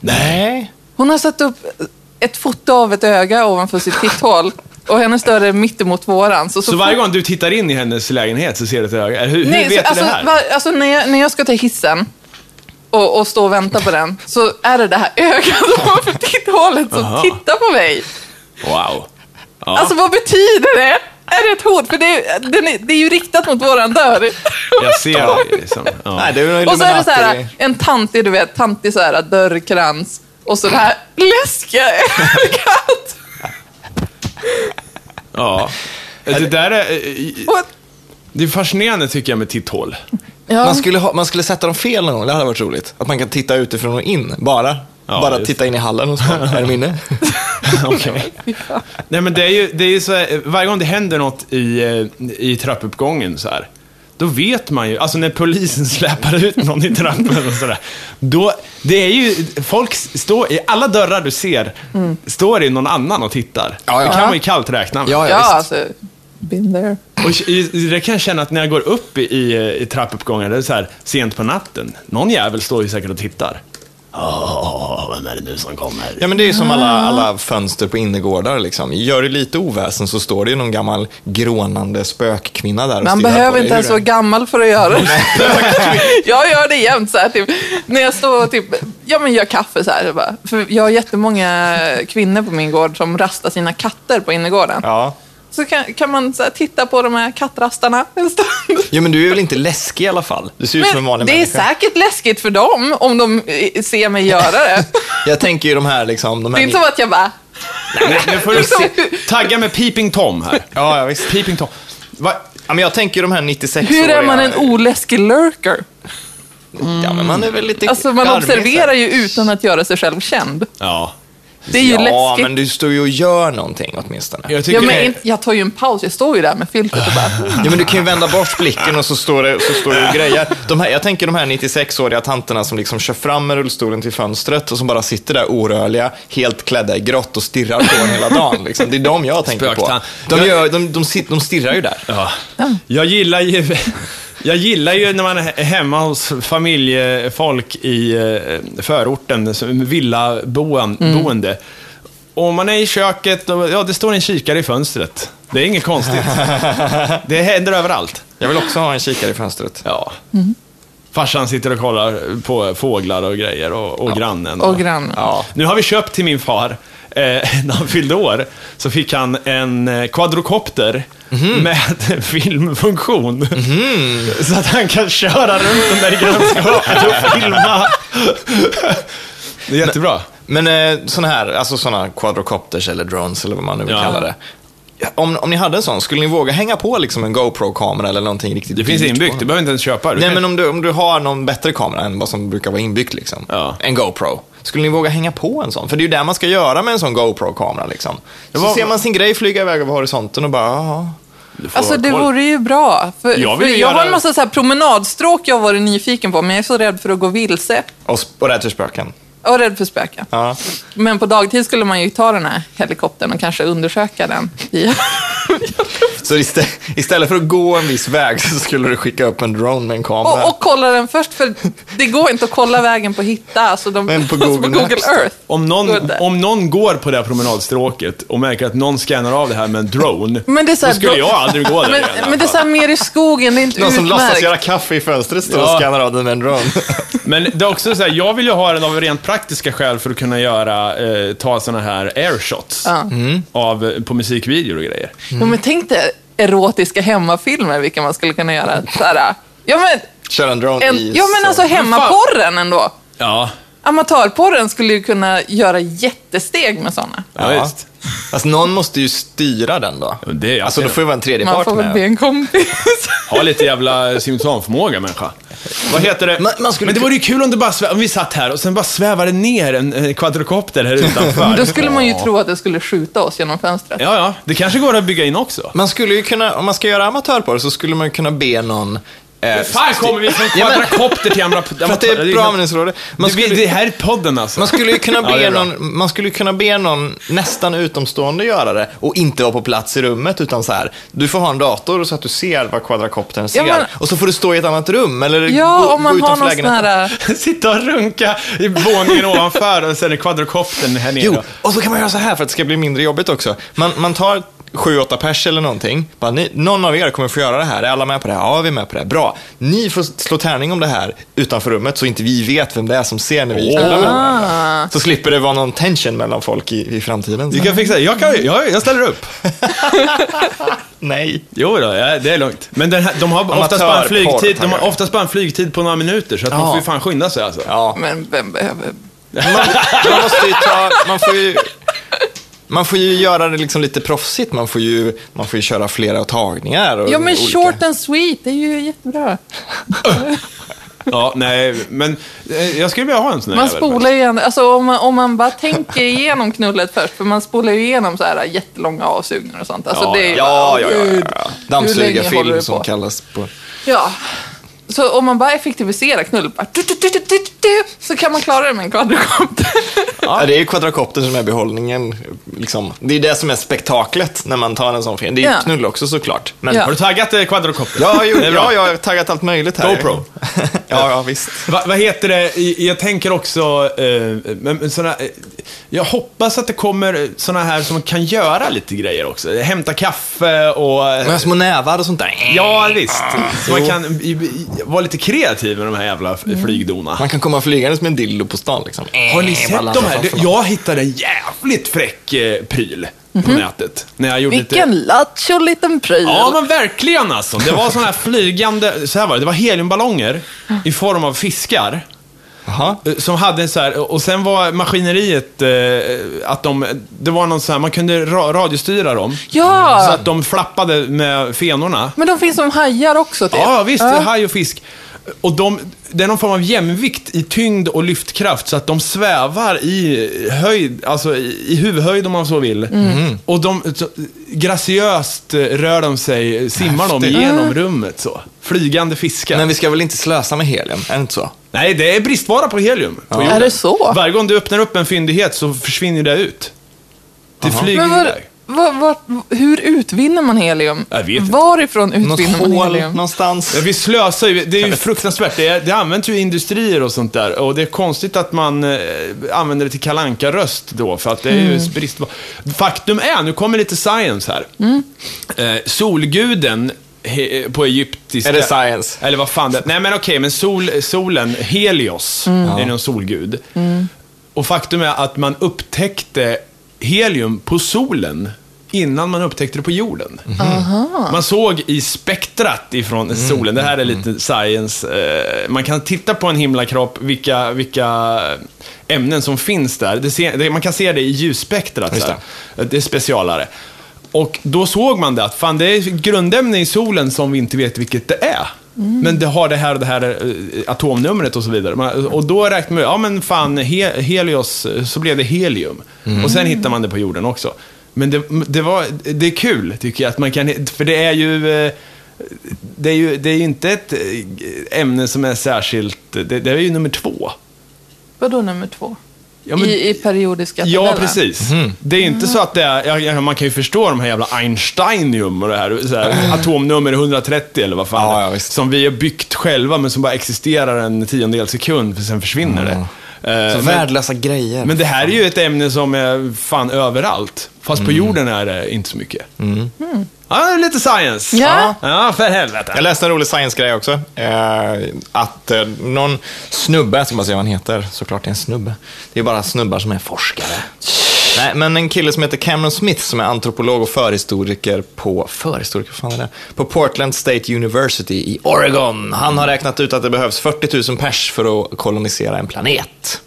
Speaker 1: Nej.
Speaker 3: Hon har satt upp ett foto av ett öga ovanför sitt titthål och hennes dörr är mittemot våran. Så, så,
Speaker 2: Så varje
Speaker 3: fort-
Speaker 2: gång du tittar in i hennes lägenhet så ser du ett öga? Eller Hur, hur
Speaker 3: Nej,
Speaker 2: vet
Speaker 3: så,
Speaker 2: du
Speaker 3: alltså,
Speaker 2: det här?
Speaker 3: var, alltså när, jag, när jag ska ta hissen och, och stå och vänta på den så är det det här ögat ovanför titthålet som
Speaker 2: Aha.
Speaker 3: tittar på mig.
Speaker 2: Wow. Ja.
Speaker 3: Alltså vad betyder det? Är det ett hot? För det, är- den är, det är ju riktat mot våran dörr.
Speaker 2: jag ser det liksom. Ja.
Speaker 1: Nej, det var
Speaker 3: Och så är det så här,
Speaker 1: Illuminati.
Speaker 3: en tantig, du vet, tantig så här dörrkrans och så det här läskiga ögat.
Speaker 2: ja. Det där är,
Speaker 3: Och-
Speaker 2: det är fascinerande tycker jag med titthål.
Speaker 1: Man
Speaker 3: Ja.
Speaker 1: skulle, ha, man skulle sätta dem fel någon gång, det hade varit roligt. Att man kan titta utifrån och in, bara.
Speaker 2: Ja,
Speaker 1: bara
Speaker 2: just.
Speaker 1: titta in i hallen och så, är de inne?
Speaker 2: Okej. Nej men det är ju, det är ju så här, varje gång det händer något i, eh, i trappuppgången så här. Då vet man ju, alltså när polisen släpar ut någon i trappen och sådär. Då, det är ju, folk står i alla dörrar du ser, står det någon annan och tittar.
Speaker 1: Ja, ja.
Speaker 2: Det kan man ju kallt räkna med.
Speaker 1: Ja,
Speaker 3: Ja, alltså, been there.
Speaker 2: Och i- det kan jag känna att när jag går upp i, i, i trappuppgången, det är så här, sent på natten. Någon jävel står ju säkert och tittar. Åh, vem är det nu som kommer?
Speaker 1: Ja, men det är ju som alla, alla fönster på innergårdar. Liksom. Gör du lite oväsen så står det ju någon gammal grånande spökkvinna där och
Speaker 3: Man
Speaker 1: stirrar på
Speaker 3: behöver
Speaker 1: dig.
Speaker 3: inte ens
Speaker 1: Hur
Speaker 3: vara
Speaker 1: är det?
Speaker 3: gammal för att göra det. jag gör det jämt så här, typ, när jag står och typ, ja, men gör kaffe. Så här, bara. För jag har jättemånga kvinnor på min gård som rastar sina katter på innergården.
Speaker 1: Ja.
Speaker 3: Så kan, kan man så här, titta på de här kattrastarna en stund.
Speaker 1: Jo, men du är väl inte läskig i alla fall? Du ser ut som en
Speaker 3: Men
Speaker 1: vanlig
Speaker 3: det är
Speaker 1: människa.
Speaker 3: säkert läskigt för dem om de eh, ser mig göra det.
Speaker 1: Jag tänker ju de här liksom... De
Speaker 3: Det
Speaker 1: här
Speaker 3: är inte som att jag bara...
Speaker 2: Nu, nu får du se, tagga med Peeping Tom här.
Speaker 1: Ja, ja, visst.
Speaker 2: Peeping Tom.
Speaker 1: Va? Ja, men jag tänker ju de här 96-åriga...
Speaker 3: Hur är man en oläskig lurker?
Speaker 1: Ja, men man är väl lite
Speaker 3: Alltså, man
Speaker 1: charmig, så här.
Speaker 3: observerar ju utan att göra sig själv känd.
Speaker 2: Ja.
Speaker 3: Det är ju
Speaker 1: ja,
Speaker 3: läskigt.
Speaker 1: men du står ju och gör någonting åtminstone.
Speaker 2: Jag tycker
Speaker 3: Ja, men
Speaker 2: det-
Speaker 3: inte- jag tar ju en paus, jag står ju där med filtret och bara...
Speaker 1: Ja, men du kan ju vända bort blicken och så står det, så står det och grejer. De här, jag tänker de här 96-åriga tanterna som liksom kör fram med rullstolen till fönstret och som bara sitter där orörliga, helt klädda i grått och stirrar på en hela dagen. Liksom. Det är de jag tänker på.
Speaker 2: Spöktant.
Speaker 1: De, gör, de, de, sit- de stirrar ju där.
Speaker 2: Ja. Jag gillar ju... Jag gillar ju när man är hemma hos familjefolk i eh, förorten, som
Speaker 3: Mm.
Speaker 2: villaboende. Och man är i köket och ja, det står en kikare i fönstret. Det är inget konstigt. Det händer överallt.
Speaker 1: Jag vill också ha en kikare i fönstret.
Speaker 2: Ja.
Speaker 3: Mm.
Speaker 2: Farsan sitter och kollar på fåglar och grejer och, och grannen.
Speaker 3: Och grannen.
Speaker 2: Ja. Nu har vi köpt till min far, eh, när han fyllde år, så fick han en eh, quadrocopter
Speaker 3: Mhm.
Speaker 2: med filmfunktion. Så att han kan köra runt den där i grannskapet och filma. Det är jättebra.
Speaker 1: Men eh, sådana här, alltså sådana quadrocopters eller drones eller vad man nu vill
Speaker 2: Ja.
Speaker 1: kalla det. Om, om ni hade en sån, skulle ni våga hänga på liksom en GoPro-kamera eller någonting riktigt
Speaker 2: Det finns
Speaker 1: dyrt på
Speaker 2: inbyggt, du behöver inte ens köpa. Du
Speaker 1: Nej,
Speaker 2: kan-
Speaker 1: men om du, om du har någon bättre kamera än vad som brukar vara inbyggt, liksom.
Speaker 2: Ja.
Speaker 1: en GoPro, skulle ni våga hänga på en sån? För det är ju det man ska göra med en sån GoPro-kamera. Liksom. Så
Speaker 2: var-
Speaker 1: ser man sin grej flyga iväg över horisonten och bara, jaha.
Speaker 2: du får
Speaker 3: Alltså det
Speaker 2: koll.
Speaker 3: vore ju bra. För,
Speaker 2: Jag
Speaker 3: jag,
Speaker 2: vill
Speaker 3: för
Speaker 2: ju
Speaker 3: jag
Speaker 2: göra-
Speaker 3: har en massa så här promenadstråk jag har varit nyfiken på, men jag är så rädd för att gå vilse.
Speaker 1: Och, sp- och rädd för spöken.
Speaker 3: Och rädd för spöken.
Speaker 1: Ja.
Speaker 3: Men på dagtid skulle man ju ta den här helikoptern och kanske undersöka den. i-
Speaker 1: Så istä- istället för att gå en viss väg så skulle du skicka upp en drone med en kamera.
Speaker 3: och, och kolla den först, för det går inte att kolla vägen på Hitta. Alltså de,
Speaker 1: Men på
Speaker 3: alltså
Speaker 1: Google
Speaker 3: på Google
Speaker 1: Maps.
Speaker 3: Earth.
Speaker 2: Om
Speaker 3: Gå
Speaker 2: någon,
Speaker 3: där.
Speaker 2: om någon går på det här promenadstråket och märker att någon scannar av det här med en drone,
Speaker 3: Men det är så här,
Speaker 2: då skulle
Speaker 3: då-
Speaker 2: jag aldrig gå där
Speaker 3: men,
Speaker 2: igen.
Speaker 3: men det är så här mer i skogen, det är inte
Speaker 1: alltså. Någon som låtsas
Speaker 3: utmärkt.
Speaker 1: göra kaffe i fönstret står
Speaker 2: Ja.
Speaker 1: och skannar av den med en drone.
Speaker 2: Men det är också så här, jag vill ju ha den av rent praktiska skäl för att kunna göra, eh, ta såna här airshots
Speaker 3: Ja.
Speaker 1: Mm.
Speaker 2: av, eh, på musikvideor och grejer.
Speaker 3: Ja, men tänk dig erotiska hemmafilmer, vilka man skulle kunna göra. Så här, ja, men,
Speaker 1: Kör en drone i...
Speaker 3: en, ja, men alltså
Speaker 1: så-
Speaker 3: hemmaporren ändå.
Speaker 2: Ja,
Speaker 3: Amatörporren skulle ju kunna göra jättesteg med sådana.
Speaker 2: ja,
Speaker 1: Ja.
Speaker 2: visst.
Speaker 1: Alltså någon måste ju styra den då.
Speaker 2: Det är
Speaker 1: Alltså då får ju vara en tredje
Speaker 3: Man
Speaker 1: part
Speaker 3: får väl be
Speaker 1: med.
Speaker 3: en kompis.
Speaker 2: Ha lite jävla symptomförmåga människa. Vad heter det?
Speaker 1: Man- man skulle-
Speaker 2: Men det vore ju kul om, det bara svä... om vi satt här och sen bara svävade ner en, en kvadrokopter här utanför.
Speaker 3: Då skulle man ju tro att det skulle skjuta oss genom fönstret.
Speaker 2: Ja, ja. Det kanske går att bygga in också.
Speaker 1: Man skulle ju kunna, om man ska göra amatörporr så skulle man ju kunna be någon... Eh,
Speaker 2: Hur fan kommer vi från
Speaker 1: Ja, men-
Speaker 2: kvadrokopter till andra...
Speaker 1: För att det är ett bra användningsområde. Man
Speaker 2: Du,
Speaker 1: skulle,
Speaker 2: Det här är podden alltså.
Speaker 1: man skulle ju kunna
Speaker 2: Ja,
Speaker 1: be,
Speaker 2: det är bra.
Speaker 1: någon, man skulle ju kunna be någon nästan utomstående göra det och inte vara på plats i rummet utan så här, du får ha en dator så att du ser vad kvadrakoptern ser.
Speaker 3: men-
Speaker 1: Och så får du stå i ett annat rum eller gå,
Speaker 3: Ja, om man
Speaker 1: gå
Speaker 3: har
Speaker 1: utanför
Speaker 3: någon sån
Speaker 1: lägenheten.
Speaker 3: här...
Speaker 2: Sitta och runka i våningen ovanför och sen är kvadrokoptern här nere.
Speaker 1: Jo, och så kan man göra så här för att det ska bli mindre jobbigt också. Man, man tar sju, åtta pers eller någonting. Bara, ni, någon av er kommer få göra det här. Är alla med på det här? Ja, vi är med på det. här. Bra. Ni får slå tärning om det här utanför rummet så inte vi vet vem det är som ser när vi
Speaker 2: Åh.
Speaker 1: spelar med
Speaker 3: Ah.
Speaker 1: varandra. Så slipper det vara någon tension mellan folk i, i framtiden.
Speaker 2: Du
Speaker 1: Så.
Speaker 2: kan fixa det. Jag, kan, jag, jag ställer upp.
Speaker 1: Nej.
Speaker 2: Jo då, ja, det är lugnt. Men den här, de har oftast bara en
Speaker 1: Amatörporr,
Speaker 2: flygtid, de har
Speaker 1: tackar.
Speaker 2: oftast bara en flygtid på några minuter, så att man
Speaker 1: Ja.
Speaker 2: får ju fan skynda sig alltså.
Speaker 1: Ja.
Speaker 3: eh, Men vem behöver...
Speaker 1: Man, man måste ju ta... Man får ju... Man får ju göra det liksom lite proffsigt. Man får ju, man får ju köra flera tagningar. Och
Speaker 3: Ja, men
Speaker 1: olika-
Speaker 3: short and sweet, det är ju jättebra.
Speaker 2: Ja, nej, men eh, jag skulle vilja ha en sån här
Speaker 3: Man
Speaker 2: jävel,
Speaker 3: spolar ju igen, alltså om man, om man bara tänker igenom knullet först, för man spolar ju igenom så här jättelånga avsugningar och sånt. Alltså
Speaker 2: Ja,
Speaker 3: det är ju
Speaker 1: Ja,
Speaker 3: bara,
Speaker 1: ja, ja. ja.
Speaker 3: gud, hur länge håller
Speaker 1: Dammsugarfilm
Speaker 3: det
Speaker 1: som
Speaker 3: på?
Speaker 1: kallas på...
Speaker 3: Ja. Så om man bara effektiviserar knullet, bara, du, du, du, du, du, du, så kan man klara det med en kvadrokopter.
Speaker 1: Ja, det är ju kvadrakoptern som är behållningen. Liksom. Det är det som är spektaklet när man tar en sån film. Det är ju
Speaker 3: Ja.
Speaker 1: knull också såklart. Men...
Speaker 3: Ja.
Speaker 2: Har du taggat eh, kvadrokoptern?
Speaker 1: Ja, jo,
Speaker 2: Det är bra.
Speaker 1: ja, jag har taggat allt möjligt här.
Speaker 2: GoPro.
Speaker 1: ja, ja, visst.
Speaker 2: Va, vad heter det, I- jag tänker också, eh, men- men såna, eh, jag hoppas att det kommer eh, såna här som kan göra lite grejer också. Hämta kaffe och... eh,
Speaker 1: Men små nävar och sånt där.
Speaker 2: Ja, visst. Så man kan i, i, vara lite kreativ med de här jävla
Speaker 3: Mm.
Speaker 2: f- flygdona.
Speaker 1: Man kan komma flygandes med en dildo på stan liksom.
Speaker 2: Har ni sett
Speaker 1: Ballansa
Speaker 2: de här?
Speaker 3: alltså.
Speaker 1: framför någon.
Speaker 2: Jag hittade en jävligt fräck eh, pryl på nätet. När jag gjorde lite...
Speaker 3: Mhm. Vilken lattjo liten pryl.
Speaker 2: Ja, men verkligen alltså. Det var sådana här flygande, så här var det, det var heliumballonger i form av fiskar.
Speaker 1: Jaha.
Speaker 2: Eh, Som hade en så här, och sen var maskineriet eh, att de, det var någon så här, man kunde ra- radiostyra dem.
Speaker 3: Ja.
Speaker 2: Så att de flappade med fenorna.
Speaker 3: Men de finns som hajar också typ.
Speaker 2: Ja, visst. Haj och fisk. Och de, det är någon form av jämvikt i tyngd och lyftkraft så att de svävar i höjd, alltså i, i huvudhöjd om man så vill. Och de, så, graciöst eh, rör de sig, simmar de
Speaker 1: Häftigt.
Speaker 2: genom rummet så. Flygande fiskar.
Speaker 1: Men vi ska väl inte slösa med helium? Är det inte så?
Speaker 2: Nej, det är bristvara på helium. på jorden.
Speaker 3: Är det så?
Speaker 2: Varje gång du öppnar upp en fyndighet så försvinner det ut. Det flyger
Speaker 3: Men var,
Speaker 2: iväg.
Speaker 3: var, var, hur utvinner man helium?
Speaker 2: Jag vet inte.
Speaker 3: Varifrån
Speaker 1: Något
Speaker 3: utvinner man
Speaker 1: hål
Speaker 3: helium?
Speaker 1: någonstans?
Speaker 2: Ja, vi slösar ju, det är ju fruktansvärt. Det, är, det används ju i industrier och sånt där. Och det är konstigt att man eh, använder det till kalanka röst då, för att det är ju brist på... Faktum är, nu kommer lite science här. Eh, solguden he, på egyptiska...
Speaker 1: Är det science?
Speaker 2: Eller vad fan det Nej men okej, men sol, solen, Helios, är någon solgud. Och faktum är att man upptäckte helium på solen innan man upptäckte det på jorden. Man såg i spektrat ifrån solen, det här är lite science, eh, man kan titta på en himlakropp, vilka, vilka ämnen som finns där. Det ser, det, man kan se det i ljusspektrat.
Speaker 1: Just
Speaker 2: så här. Eh, Det är specialare. Och då såg man det att fan, det är grundämne i solen som vi inte vet vilket det är.
Speaker 3: Mm.
Speaker 2: Men det har det här och det här eh, atomnumret och så vidare. Man- eh, Och då räknar man ja men fan, he, Helios, eh, så blev det helium. Och sen hittar man det på jorden också. Men det, det, var, det är kul, tycker jag, att man kan, för det är ju... eh, Det är ju, det är ju inte ett eh, ämne som är särskilt... Det, det är ju nummer två.
Speaker 3: Vadå nummer två?
Speaker 2: Ja, men-
Speaker 3: I, I periodiska
Speaker 2: Ja,
Speaker 3: tabeller?
Speaker 2: precis.
Speaker 1: Mhm.
Speaker 2: Det är ju inte så att det är, ja, ja, man kan ju förstå de här jävla Einsteinium och det här, så här atomnummer 130 eller vad fan
Speaker 1: Mm. Ja,
Speaker 2: det är,
Speaker 1: ja, visst.
Speaker 2: Som vi har byggt själva men som bara existerar en tiondel sekund för sen försvinner det. Eh,
Speaker 1: Mm. Så
Speaker 2: men,
Speaker 1: värdelösa grejer.
Speaker 2: men det här är ju ett ämne som är fan överallt. Fast
Speaker 1: Mm.
Speaker 2: på jorden är det inte så mycket. Ja, det är lite science.
Speaker 3: Ja.
Speaker 2: ja för helvete.
Speaker 1: Jag läste en rolig science-grej också. Eh, att eh, någon snubbe, jag ska bara se vad han heter, såklart det är en snubbe. Det är bara snubbar som är forskare. Nej, men en kille som heter Cameron Smith som är antropolog och förhistoriker på, förhistoriker, vad fan är det? På Portland State University i Oregon. Han har räknat ut att det behövs 40 000 pers för att kolonisera en planet.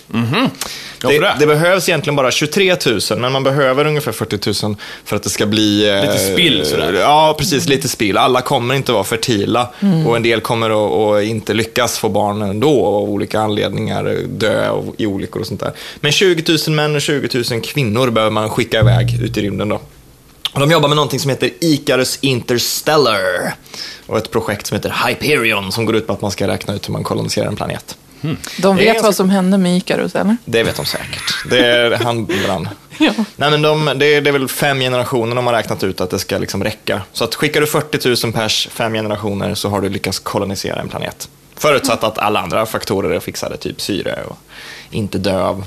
Speaker 2: Ja, bra.
Speaker 1: Det, det behövs egentligen bara 23 000, men man behöver ungefär 40 000 för att det ska bli... eh,
Speaker 2: Lite spill, sådär.
Speaker 1: Ja, precis. Lite spill. Alla kommer inte vara fertila och en del kommer att, att inte lyckas få barn ändå av olika anledningar, dö och, i olyckor och sånt där. Men 20 000 män och 20 000 kvinnor behöver man skicka iväg ut i rymden då. Och de jobbar med någonting som heter Icarus Interstellar och ett projekt som heter Hyperion som går ut på att man ska räkna ut hur man koloniserar en planet.
Speaker 3: De
Speaker 1: Det är
Speaker 3: vet
Speaker 1: ganska-
Speaker 3: vad som hände med Icarus, eller?
Speaker 1: Det vet de säkert. Det är, han brann.
Speaker 3: Ja.
Speaker 1: Nej, men de, det, är, det är väl fem generationer de har räknat ut att det ska liksom räcka. Så att skickar du 40 000 pers fem generationer så har du lyckats kolonisera en planet. Förutsatt att alla andra faktorer är fixade, typ syre och inte dö av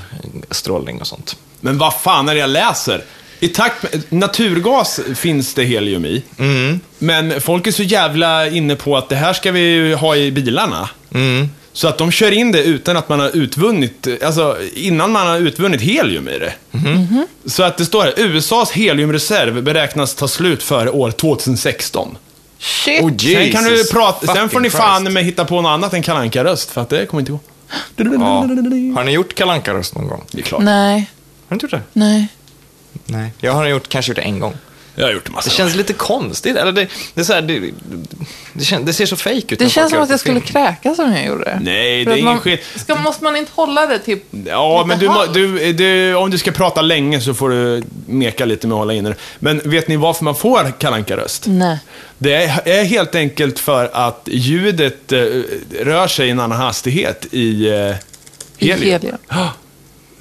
Speaker 1: strålning och sånt.
Speaker 2: Men vad fan är det jag läser? I takt med, naturgas finns det helium i.
Speaker 1: Mm.
Speaker 2: Men folk är så jävla inne på att det här ska vi ju ha i bilarna.
Speaker 1: Mm.
Speaker 2: Så att de kör in det utan att man har utvunnit, alltså innan man har utvunnit helium i det.
Speaker 1: Mhm.
Speaker 2: Mm-hmm. Så att det står här, USAs heliumreserv beräknas ta slut före år 2016.
Speaker 3: Shit!
Speaker 1: Oh,
Speaker 2: sen kan du
Speaker 1: Jesus
Speaker 2: prata, sen
Speaker 1: fucking
Speaker 2: får ni fan
Speaker 1: Christ.
Speaker 2: med hitta på något annat än Kalle röst för att det kommer inte gå.
Speaker 1: Ja. Har ni gjort Kalle Anka-röst någon gång?
Speaker 2: Det är klart.
Speaker 3: Nej,
Speaker 1: Har ni inte gjort det?
Speaker 3: nej.
Speaker 1: Nej. Jag har gjort, kanske gjort det en gång.
Speaker 2: Jag har gjort det massa
Speaker 1: Det känns lite konstigt. Eller det, det, är så här, det, det, kän- det ser så fake ut. när
Speaker 3: Det
Speaker 1: folk
Speaker 3: känns som
Speaker 1: gör
Speaker 3: att jag skulle
Speaker 1: film.
Speaker 3: kräkas om jag gjorde det.
Speaker 2: Nej, det
Speaker 3: För
Speaker 2: är
Speaker 3: att
Speaker 2: ingen
Speaker 3: man-
Speaker 2: skit.
Speaker 3: Ska, måste man inte hålla det till...
Speaker 2: Ja,
Speaker 3: lite
Speaker 2: men du, må-
Speaker 3: halv?
Speaker 2: du, du, om du ska prata länge så får du meka lite med att hålla inne det. Men vet ni varför man får kalanka röst?
Speaker 3: Nej.
Speaker 2: Det är- är helt enkelt för att ljudet eh, rör sig i en annan hastighet i eh, helium.
Speaker 3: helium.
Speaker 2: Ja.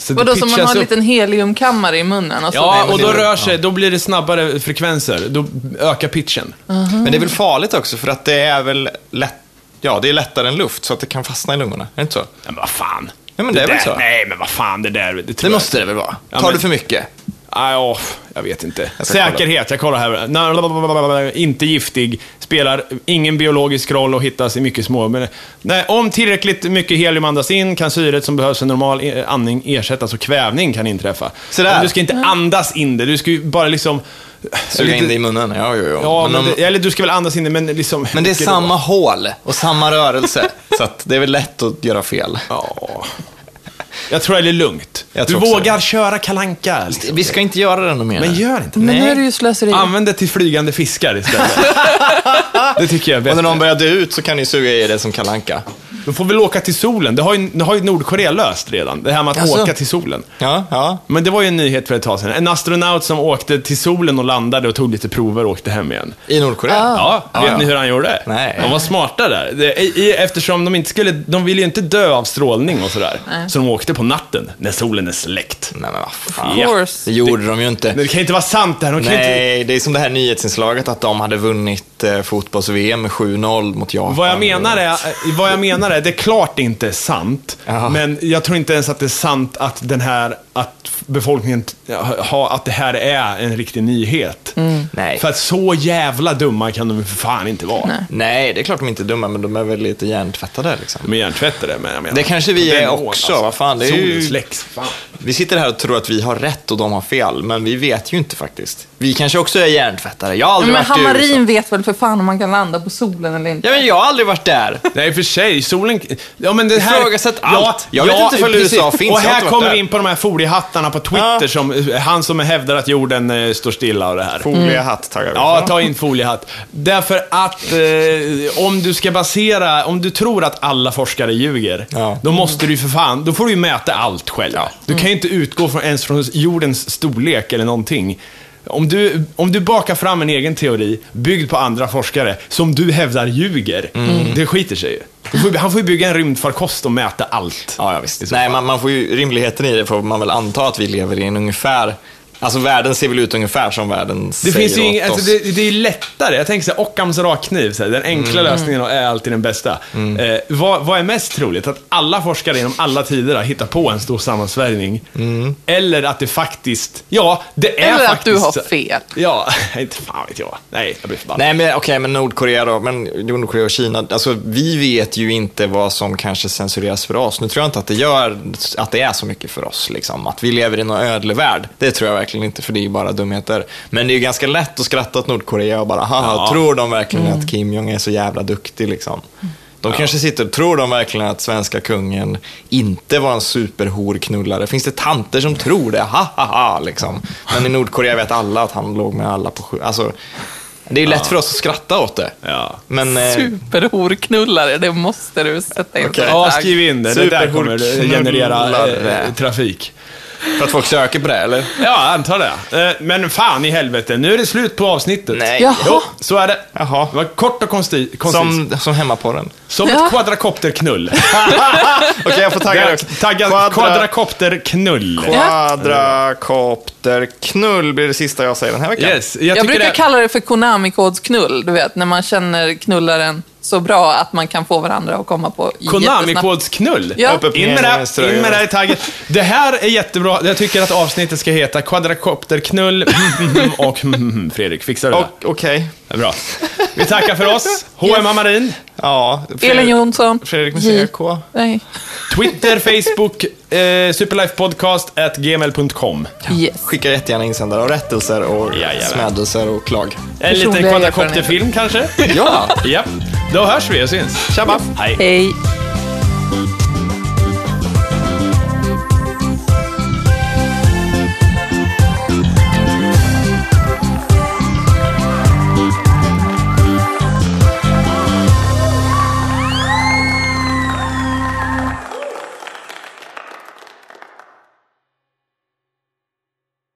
Speaker 2: Så det
Speaker 3: Vadå, som man
Speaker 2: pitchas
Speaker 3: har en
Speaker 2: upp.
Speaker 3: liten heliumkammare i munnen? Och så
Speaker 2: Ja, och då
Speaker 1: det-
Speaker 2: rör sig, då blir det snabbare frekvenser. Då ökar pitchen.
Speaker 1: Men det är väl farligt också för att det är väl lätt, ja, det är lättare än luft så att det kan fastna i lungorna. Är det inte så?
Speaker 2: Men vad fan.
Speaker 1: Ja, men det är väl
Speaker 2: där,
Speaker 1: så.
Speaker 2: Nej, men vad fan, det där, det tror
Speaker 1: Det
Speaker 2: jag-
Speaker 1: måste det väl vara?
Speaker 2: Ja,
Speaker 1: Tar
Speaker 2: men-
Speaker 1: du för mycket?
Speaker 2: Nej, åh, jag vet inte.
Speaker 1: Jag ska
Speaker 2: Säkerhet, jag kollar här. Nej, blablabla, Inte giftig, spelar ingen biologisk roll och hittas i mycket små... Men, nej, om tillräckligt mycket helium andas in kan syret som behövs för normal eh, andning ersättas och kvävning kan inträffa.
Speaker 1: Så där.
Speaker 2: Men Du ska inte andas in det, du ska ju bara liksom...
Speaker 1: Mm. Suga in
Speaker 2: lite-
Speaker 1: det i munnen? Ja, jo, jo.
Speaker 2: Ja,
Speaker 1: men,
Speaker 2: men
Speaker 1: om,
Speaker 2: det, eller du ska väl andas in det, men liksom...
Speaker 1: men det är
Speaker 2: mycket då.
Speaker 1: samma hål och samma rörelse. så att det är väl lätt att göra fel.
Speaker 2: Ja. Jag tror det är lugnt.
Speaker 1: Jag
Speaker 2: du
Speaker 1: tror också
Speaker 2: vågar köra kalanka. Liksom.
Speaker 1: Vi ska inte göra det ännu mer.
Speaker 2: Men gör inte det.
Speaker 3: Men nu
Speaker 1: Nej.
Speaker 3: är det ju slöseri.
Speaker 2: Använd det till flygande fiskar istället. det tycker jag är
Speaker 1: Och när
Speaker 2: bättre.
Speaker 1: någon börjar dö ut så kan ni suga i det som kalanka.
Speaker 2: De får väl åka till solen. Det har ju, det har ju Nordkorea löst redan, det här med att
Speaker 1: Jaså?
Speaker 2: åka till solen.
Speaker 1: Ja, ja.
Speaker 2: Men det var ju en nyhet för ett tag sedan. En astronaut som åkte till solen och landade och tog lite prover och åkte hem igen.
Speaker 1: I Nordkorea?
Speaker 2: Ja, vet
Speaker 1: Ah, ja.
Speaker 2: ni hur han gjorde?
Speaker 1: Nej.
Speaker 2: De var smarta där. Det- i- i- Eftersom de inte skulle, de ville ju inte dö av strålning och sådär. Så de åkte på natten, när solen är släckt.
Speaker 1: Nej, men vad fan.
Speaker 2: Ja.
Speaker 3: Of course.
Speaker 1: Det gjorde de ju inte.
Speaker 2: Men det kan inte vara sant det här. De kan inte...
Speaker 1: Nej, det är som det här nyhetsinslaget att de hade vunnit eh, fotbolls-VM med 7-0 mot Japan.
Speaker 2: Vad jag, menar är, eh, vad jag menar är, det är klart det inte är sant,
Speaker 1: Ja.
Speaker 2: men jag tror inte ens att det är sant att den här, att befolkningen, t- ha, att det här är en riktig nyhet.
Speaker 1: Nej.
Speaker 2: För att så jävla dumma kan de för fan inte vara.
Speaker 1: Nej, det är klart de inte är dumma, men de är väl lite hjärntvättade. Liksom.
Speaker 2: De är hjärntvättade, men jag menar.
Speaker 1: Det kanske vi
Speaker 2: på den
Speaker 1: är
Speaker 2: nivån,
Speaker 1: också, vad fan, det är
Speaker 2: Solen
Speaker 1: ju-
Speaker 2: släcks, fan.
Speaker 1: Vi sitter här och tror att vi har rätt och de har fel, men vi vet ju inte faktiskt. Vi kanske också är hjärntvättare. Jag har aldrig
Speaker 3: Men
Speaker 1: varit i USA.
Speaker 3: Hammarin vet väl för fan om man kan landa på solen eller inte?
Speaker 1: Ja, men jag har aldrig varit där.
Speaker 2: Nej, för sig. Solen... Ja, men det här...
Speaker 1: Ifrågasätt allt. Jag vet inte ifall
Speaker 2: precis.
Speaker 1: USA finns.
Speaker 2: Och
Speaker 1: Jag har
Speaker 2: här
Speaker 1: inte varit
Speaker 2: kommer
Speaker 1: där.
Speaker 2: vi in på de här foliehattarna på Twitter,
Speaker 1: Ja.
Speaker 2: som, han som hävdar att jorden eh, står stilla och det här.
Speaker 1: Foliehatt taggar vi.
Speaker 2: Ja, ta in foliehatt. Därför att eh, om du ska basera, om du tror att alla forskare ljuger,
Speaker 1: Ja.
Speaker 2: då måste du ju för fan, då får du ju mäta allt själv. Du kan ju inte utgå från, ens från jordens storlek eller någonting. Om du, om du bakar fram en egen teori byggd på andra forskare som du hävdar ljuger,
Speaker 1: Mm.
Speaker 2: det skiter sig ju. Du får, han får ju bygga en rymdfarkost och mäta allt.
Speaker 1: Ja, ja visst. Nej, man, man får ju, rimligheten i det får man väl anta att vi lever i en ungefär... Alltså världen ser väl ut ungefär som världen
Speaker 2: Det,
Speaker 1: säger
Speaker 2: finns ju
Speaker 1: åt
Speaker 2: ing, alltså,
Speaker 1: oss.
Speaker 2: det, det är lättare. Jag tänker så här, Ockhams rakkniv, så här, den enkla
Speaker 1: Mm.
Speaker 2: lösningen är alltid den bästa. Eh, vad, vad är mest troligt? Att alla forskare genom alla tider har hittat på en stor sammansvärjning?
Speaker 1: Mm.
Speaker 2: Eller att det faktiskt, ja, det är
Speaker 3: Eller att
Speaker 2: faktiskt...
Speaker 3: du har fel.
Speaker 2: Ja, inte fan vet jag. Nej, jag blir förbannad.
Speaker 1: Nej, men okej, men Nordkorea då. Men Nordkorea och Kina. Alltså, vi vet ju inte vad som kanske censureras för oss. Nu tror jag inte att det gör att det är så mycket för oss. Liksom. Att vi lever i någon ödlevärld. Det tror jag verkligen inte, för det är ju bara dumheter. Men det är ju ganska lätt att skratta åt Nordkorea och bara, haha,
Speaker 2: Ja.
Speaker 1: tror de verkligen att Kim Jong är så jävla duktig? Liksom? De kanske sitter, tror de verkligen att svenska kungen inte var en superhorknullare? Finns det tanter som tror det? Ha, ha, ha, liksom. Men i Nordkorea vet alla att han låg med alla på sju. Alltså, det är ju lätt för oss att skratta åt det.
Speaker 2: Ja.
Speaker 1: Men, eh,
Speaker 3: Superhorknullare, det måste du sätta in.
Speaker 1: Okej.
Speaker 3: som
Speaker 2: Ja,
Speaker 3: tagg.
Speaker 2: skriv in det. Det där kommer generera eh, trafik.
Speaker 1: för att folk söker på det, eller?
Speaker 2: Ja, antar det. Eh, Men fan i helvete, nu är det slut på avsnittet.
Speaker 1: Nej.
Speaker 3: Jaha.
Speaker 2: Jo, så är det.
Speaker 1: Jaha.
Speaker 2: Det var kort och konsti- koncist. Som,
Speaker 1: Som, som hemmapodden.
Speaker 2: ett
Speaker 3: Ja.
Speaker 2: quadracopterknull.
Speaker 1: Okej, jag får tagga dig också.
Speaker 2: Taggad quadracopterknull.
Speaker 1: Quadracopterknull blir det sista jag säger den här veckan.
Speaker 2: Yes,
Speaker 3: Jag,
Speaker 2: jag, tycker
Speaker 3: brukar
Speaker 2: det...
Speaker 3: kalla det för Konami-kodsknull, du vet, när man känner knullaren så bra att man kan få varandra att komma på jättesnabbt.
Speaker 2: Konami-kodsknull.
Speaker 3: Ja.
Speaker 1: Upp, upp,
Speaker 2: In med
Speaker 1: ner,
Speaker 2: det,
Speaker 1: vänster,
Speaker 2: in med
Speaker 1: höger.
Speaker 2: det i taggen. Det här är jättebra. Jag tycker att avsnittet ska heta Quadracopterknull och mm, Fredrik. Fixar du
Speaker 1: Och- Okej.
Speaker 2: det? Bra. Vi tackar för oss. H&M Marin.
Speaker 1: Ja.
Speaker 3: Elin Jonsson.
Speaker 1: Fredrik med
Speaker 3: J.
Speaker 1: CK.
Speaker 3: Nej.
Speaker 2: Twitter, Facebook, eh, superlifepodcast.gmail.com.
Speaker 3: Yes.
Speaker 1: Skicka jättegärna insändare och rättelser och
Speaker 2: Jajamän.
Speaker 1: smädelser och klag.
Speaker 2: En liten
Speaker 3: Personliga
Speaker 2: quadracopterfilm kanske?
Speaker 1: Ja.
Speaker 2: ja. Då hörs vi och syns.
Speaker 1: Tjabba.
Speaker 2: Hej.
Speaker 3: Hej.